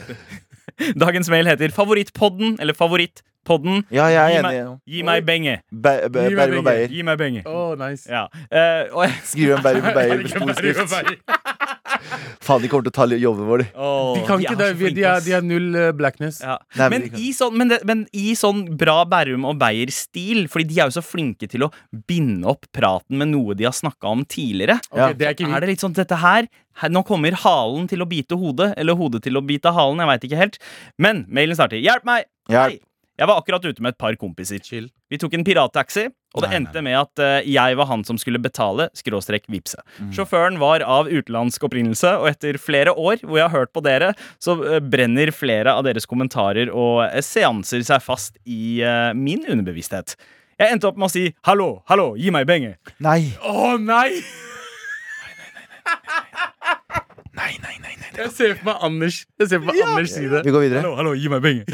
Speaker 3: Dagens mail heter Favorittpodden, eller Favorittpodden.
Speaker 4: Ja, jeg
Speaker 3: Gi
Speaker 4: er
Speaker 3: meg,
Speaker 4: enig.
Speaker 3: gi meg benge.
Speaker 4: Be- be-
Speaker 2: Gi meg
Speaker 4: Bærum
Speaker 2: penger.
Speaker 4: og Beyer.
Speaker 3: Gi meg benge.
Speaker 2: Oh, nice.
Speaker 3: Ja. Eh, og jeg-
Speaker 4: Skriver en Bærum og Beyer med stor skrift.
Speaker 2: De
Speaker 4: Faen, de kommer til å ta jobben vår, de.
Speaker 3: Åh,
Speaker 2: kan
Speaker 3: de
Speaker 2: ikke
Speaker 3: er
Speaker 2: det.
Speaker 3: så
Speaker 2: Vi-
Speaker 3: flinke,
Speaker 2: De er,
Speaker 3: ass.
Speaker 2: de er null eh, blackness.
Speaker 3: Ja.
Speaker 4: Nei, men
Speaker 3: men,
Speaker 4: de kan-
Speaker 3: i sånn, men, det, men i sånn bra Bærum og Beyer-stil, fordi de er jo så flinke til å binde opp praten med noe de har snakka om tidligere.
Speaker 2: Ok,
Speaker 4: Ja.
Speaker 2: det er ikke vi.
Speaker 3: Er det litt sånn dette her, her Nå kommer halen til å bite hodet, eller hodet til å bite halen. Jeg veit ikke helt. Men mailen starter. Hjelp meg!
Speaker 4: Hjelp.
Speaker 3: Hei. Jeg var akkurat ute med et par kompiser.
Speaker 2: Chill.
Speaker 3: Vi tok en pirattaxi, og
Speaker 2: Nei,
Speaker 3: det
Speaker 2: nei,
Speaker 3: endte med at eh, jeg var han som skulle betale, skråstrek vipse.
Speaker 2: Mm.
Speaker 3: Sjåføren var av utenlandsk opprinnelse, og etter flere år hvor jeg har hørt på dere, så eh, brenner flere av deres kommentarer og eh, seanser seg fast i eh, min underbevissthet. Jeg endte opp med å si 'hallo, hallo, gi meg penger'.
Speaker 4: Nei.
Speaker 2: Å nei!
Speaker 4: Nei, nei, nei, nei.
Speaker 2: Jeg ser for meg Anders Jeg ser for meg Anders si det.
Speaker 4: Vi går videre.
Speaker 3: Hallo, hallo, gi meg penger.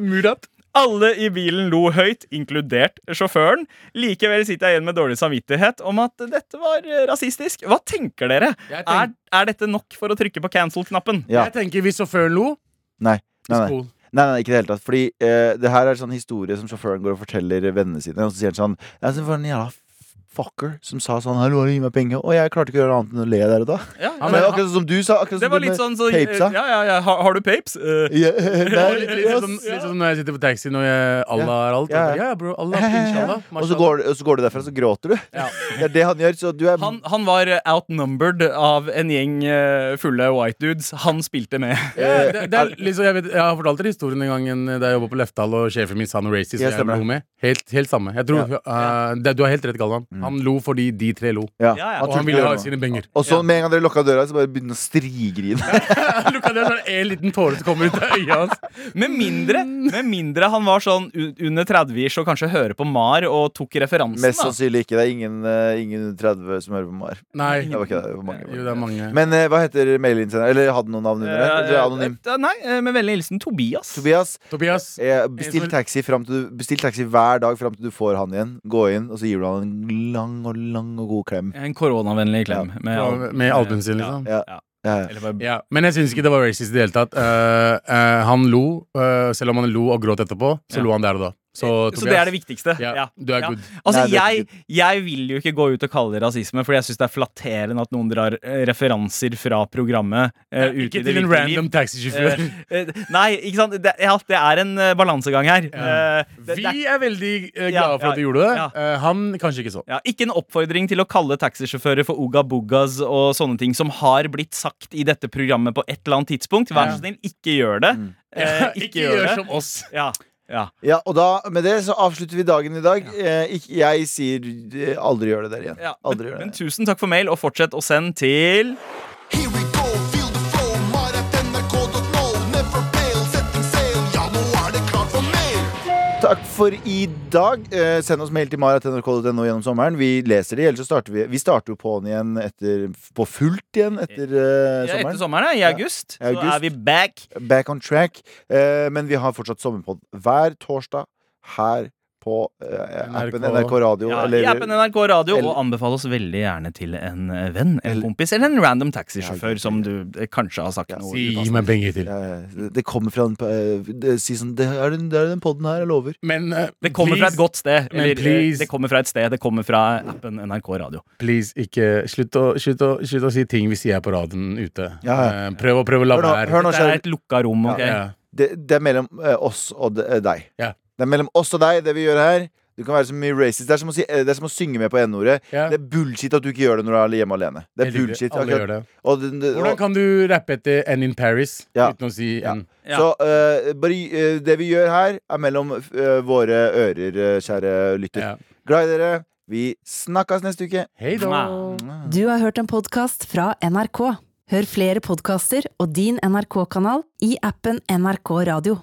Speaker 2: Murat.
Speaker 3: Alle i bilen lo høyt, inkludert sjåføren. Likevel sitter jeg igjen med dårlig samvittighet om at dette var eh, rasistisk. Hva tenker dere?
Speaker 2: Jeg
Speaker 3: Er,
Speaker 2: tenk-
Speaker 3: er dette nok for å trykke på cancel-knappen?
Speaker 4: Ja.
Speaker 2: Jeg tenker hvis sjåføren lo
Speaker 4: Nei. Nei, nei.
Speaker 2: Skål.
Speaker 4: Nei, nei, ikke i det hele tatt. Fordi eh, det her er sånn historie som sjåføren går og forteller vennene sine. Og så sier han sånn Ja, så var det en jævla f- fucker som sa sånn Hallo, gi meg penger. Og jeg klarte ikke å gjøre annet enn å le der og da.
Speaker 3: Ja,
Speaker 4: Men akkurat sånn som du sa. Akkurat
Speaker 3: Det
Speaker 4: som
Speaker 3: var
Speaker 4: du
Speaker 3: litt
Speaker 4: med
Speaker 3: sånn så,
Speaker 4: papesa.
Speaker 3: Ja, ja, ja. Har, har du papes? Eh,
Speaker 4: Ja,
Speaker 2: Ja,
Speaker 4: nei,
Speaker 2: Litt litt
Speaker 4: yes.
Speaker 2: sånn litt sånn når jeg sitter på taxi når jeg, Allah er alt.
Speaker 4: Ja,
Speaker 2: Ja,
Speaker 4: ja.
Speaker 2: ja bro, Allah, inshallah,
Speaker 4: Og så går, og så går du derfra, så gråter du.
Speaker 2: Ja.
Speaker 4: Det er det han gjør. Så du er
Speaker 3: han, han var eh, outnumbered av en gjeng eh, fulle white dudes. Han spilte med.
Speaker 2: Ja, det, det er liksom, jeg, vet, jeg har fortalt dere historien en gang en- eh, da jeg jobba på Leftdal, og sjefen min sa noe racist. og
Speaker 4: Ja,
Speaker 2: jeg
Speaker 4: stemmer.
Speaker 2: lo med. Helt, helt samme. Jeg tror, eh, det, du har helt rett, Galvan. Han lo fordi de tre lo.
Speaker 4: ja.
Speaker 3: Ja, ja.
Speaker 4: Mm.
Speaker 2: Og
Speaker 4: Han tror
Speaker 2: han
Speaker 4: ikke
Speaker 2: ville
Speaker 4: det
Speaker 2: ha
Speaker 4: var noe.
Speaker 2: sine penger.
Speaker 4: Og så med en gang dere lukka døra, så bare begynner han å strigrine.
Speaker 2: Lukka det, så er det en liten tåre som kommer ut av øyet hans.
Speaker 3: Med mindre, med mindre han var sånn u- under 30-ish og kanskje hører på Mar og tok referansen.
Speaker 4: Mest
Speaker 3: da.
Speaker 4: sannsynlig ikke. Det er ingen, eh, ingen under 30 som hører på Mar.
Speaker 2: Nei.
Speaker 4: Det var ikke det. det var mange.
Speaker 2: Jo, det er mange.
Speaker 4: Men eh, hva heter mailinnsender? Eller hadde noen navn under det?
Speaker 3: Eh,
Speaker 4: Eller anonym?
Speaker 3: eh, Nei, eh, med vennlig hilsen Tobias.
Speaker 4: Tobias,
Speaker 2: Tobias,
Speaker 4: eh, bestill taxi, fram til du, bestill taxi hver dag fram til du får han igjen. Gå inn, og så gir du han en lang og lang og god klem.
Speaker 3: En koronavennlig klem. Med, al-
Speaker 2: med albuen sin, liksom.
Speaker 4: Ja. Ja, ja.
Speaker 3: Eller bare,
Speaker 2: Ja, Men jeg syns ikke det var racist i det hele tatt. Eh, eh, han lo, eh, selv om han lo og gråt etterpå, så
Speaker 3: Ja. Eh,
Speaker 2: lo han der og da. Så,
Speaker 3: så det er
Speaker 2: Tobias,
Speaker 3: det viktigste.
Speaker 2: Ja,
Speaker 3: Ja,
Speaker 2: du er
Speaker 3: ja.
Speaker 2: good.
Speaker 3: Altså,
Speaker 4: Nei, det er
Speaker 3: jeg, jeg vil jo ikke gå ut og kalle det rasisme, Fordi jeg syns det er flatterende at noen drar eh, referanser fra programmet eh, ut
Speaker 2: Ikke
Speaker 3: i det
Speaker 2: til en
Speaker 3: virkelige liv.
Speaker 2: random taxisjåfør.
Speaker 3: Eh, eh, nei, ikke sant? Det, ja, det er en eh, balansegang her. Eh, det, det er,
Speaker 2: Vi er veldig eh,
Speaker 3: Ja,
Speaker 2: glade for
Speaker 3: ja,
Speaker 2: at du gjorde det.
Speaker 3: ja.
Speaker 2: Eh, han kanskje ikke så.
Speaker 3: ja, ikke en oppfordring til å kalle taxisjåfører for Uga Bugas og sånne ting som har blitt sagt i dette programmet på et eller annet tidspunkt. Vær så snill, ikke gjør det.
Speaker 2: Mm.
Speaker 3: Eh, ikke, gjør det.
Speaker 2: som oss.
Speaker 3: Ja, ja.
Speaker 4: ja, og da, med det så avslutter vi dagen i dag. Eh, ikke, jeg sier eh, aldri gjør det der igjen.
Speaker 3: ja.
Speaker 4: Aldri gjør
Speaker 3: Men
Speaker 4: det.
Speaker 3: tusen takk for mail, og fortsett å sende til
Speaker 5: Here we go, feel the flow, mar at nrk.no. Never fail, setting sail, ja, nå er det klart for mer.
Speaker 4: Takk for i dag. Eh, send oss mail til marat.nrk.no gjennom sommeren. Vi leser de, ellers så starter vi Vi starter jo på'n igjen etter, på fullt igjen etter eh,
Speaker 3: ja, Etter
Speaker 4: sommeren.
Speaker 3: sommeren, ja, i august,
Speaker 4: I august.
Speaker 3: så er vi back.
Speaker 4: Back on track. Eh, men vi har fortsatt sommerpod hver torsdag her på eh, appen
Speaker 2: NRK.
Speaker 4: NRK Radio.
Speaker 3: Ja,
Speaker 4: eller-
Speaker 3: I appen NRK Radio,
Speaker 4: eller-
Speaker 3: og anbefal oss veldig gjerne til en eh, venn, en
Speaker 4: Eller-
Speaker 3: kompis eller en random
Speaker 4: Ja,
Speaker 3: taxisjåfør som du eh, kanskje har sagt
Speaker 4: Ja,
Speaker 3: noe
Speaker 2: Gi
Speaker 3: upassende.
Speaker 2: meg penger til.
Speaker 4: Ja, ja, det- det kommer fra den eh, det, Si sånn Det er den, det er den podden her, jeg lover.
Speaker 2: Men eh,
Speaker 3: Det kommer
Speaker 2: please,
Speaker 3: fra et godt sted.
Speaker 2: Men
Speaker 3: Eller, eh,
Speaker 2: please.
Speaker 3: det kommer fra et sted, det kommer fra appen NRK Radio.
Speaker 2: please, ikke Slutt å, slutt å, slutt å si ting vi sier på radioen ute.
Speaker 4: Ja, ja.
Speaker 2: Eh, prøv, å, prøv å la
Speaker 4: Hør nå,
Speaker 2: være.
Speaker 4: hør nå
Speaker 3: Det er
Speaker 4: kjære.
Speaker 3: et lukka rom, ok?
Speaker 2: Ja.
Speaker 4: Det, det er mellom eh, oss og de, eh, deg.
Speaker 2: Ja.
Speaker 4: Det er mellom oss og deg, det vi gjør her. Du kan være så mye racist. Det er som å, si, eh, det er som å synge med på n-ordet.
Speaker 2: Ja.
Speaker 4: Det er bullshit at du ikke gjør det når du er hjemme alene. Det er
Speaker 2: Helt riktig.
Speaker 4: bullshit.
Speaker 2: Alle
Speaker 4: akkurat.
Speaker 2: gjør det.
Speaker 4: Og, det- det-
Speaker 2: Hvordan
Speaker 4: og,
Speaker 2: kan du rappe etter N in Paris
Speaker 4: Ja.
Speaker 2: uten å si
Speaker 4: Ja.
Speaker 2: N?
Speaker 3: Ja.
Speaker 4: Så eh, bare, eh, det vi gjør her, er mellom eh, våre ører, eh, kjære lytter.
Speaker 2: Ja.
Speaker 4: Glad i dere. Vi snakkes neste uke.
Speaker 2: Hei da!
Speaker 1: Du har hørt en podkast fra NRK. Hør flere podkaster og din NRK-kanal i appen NRK Radio.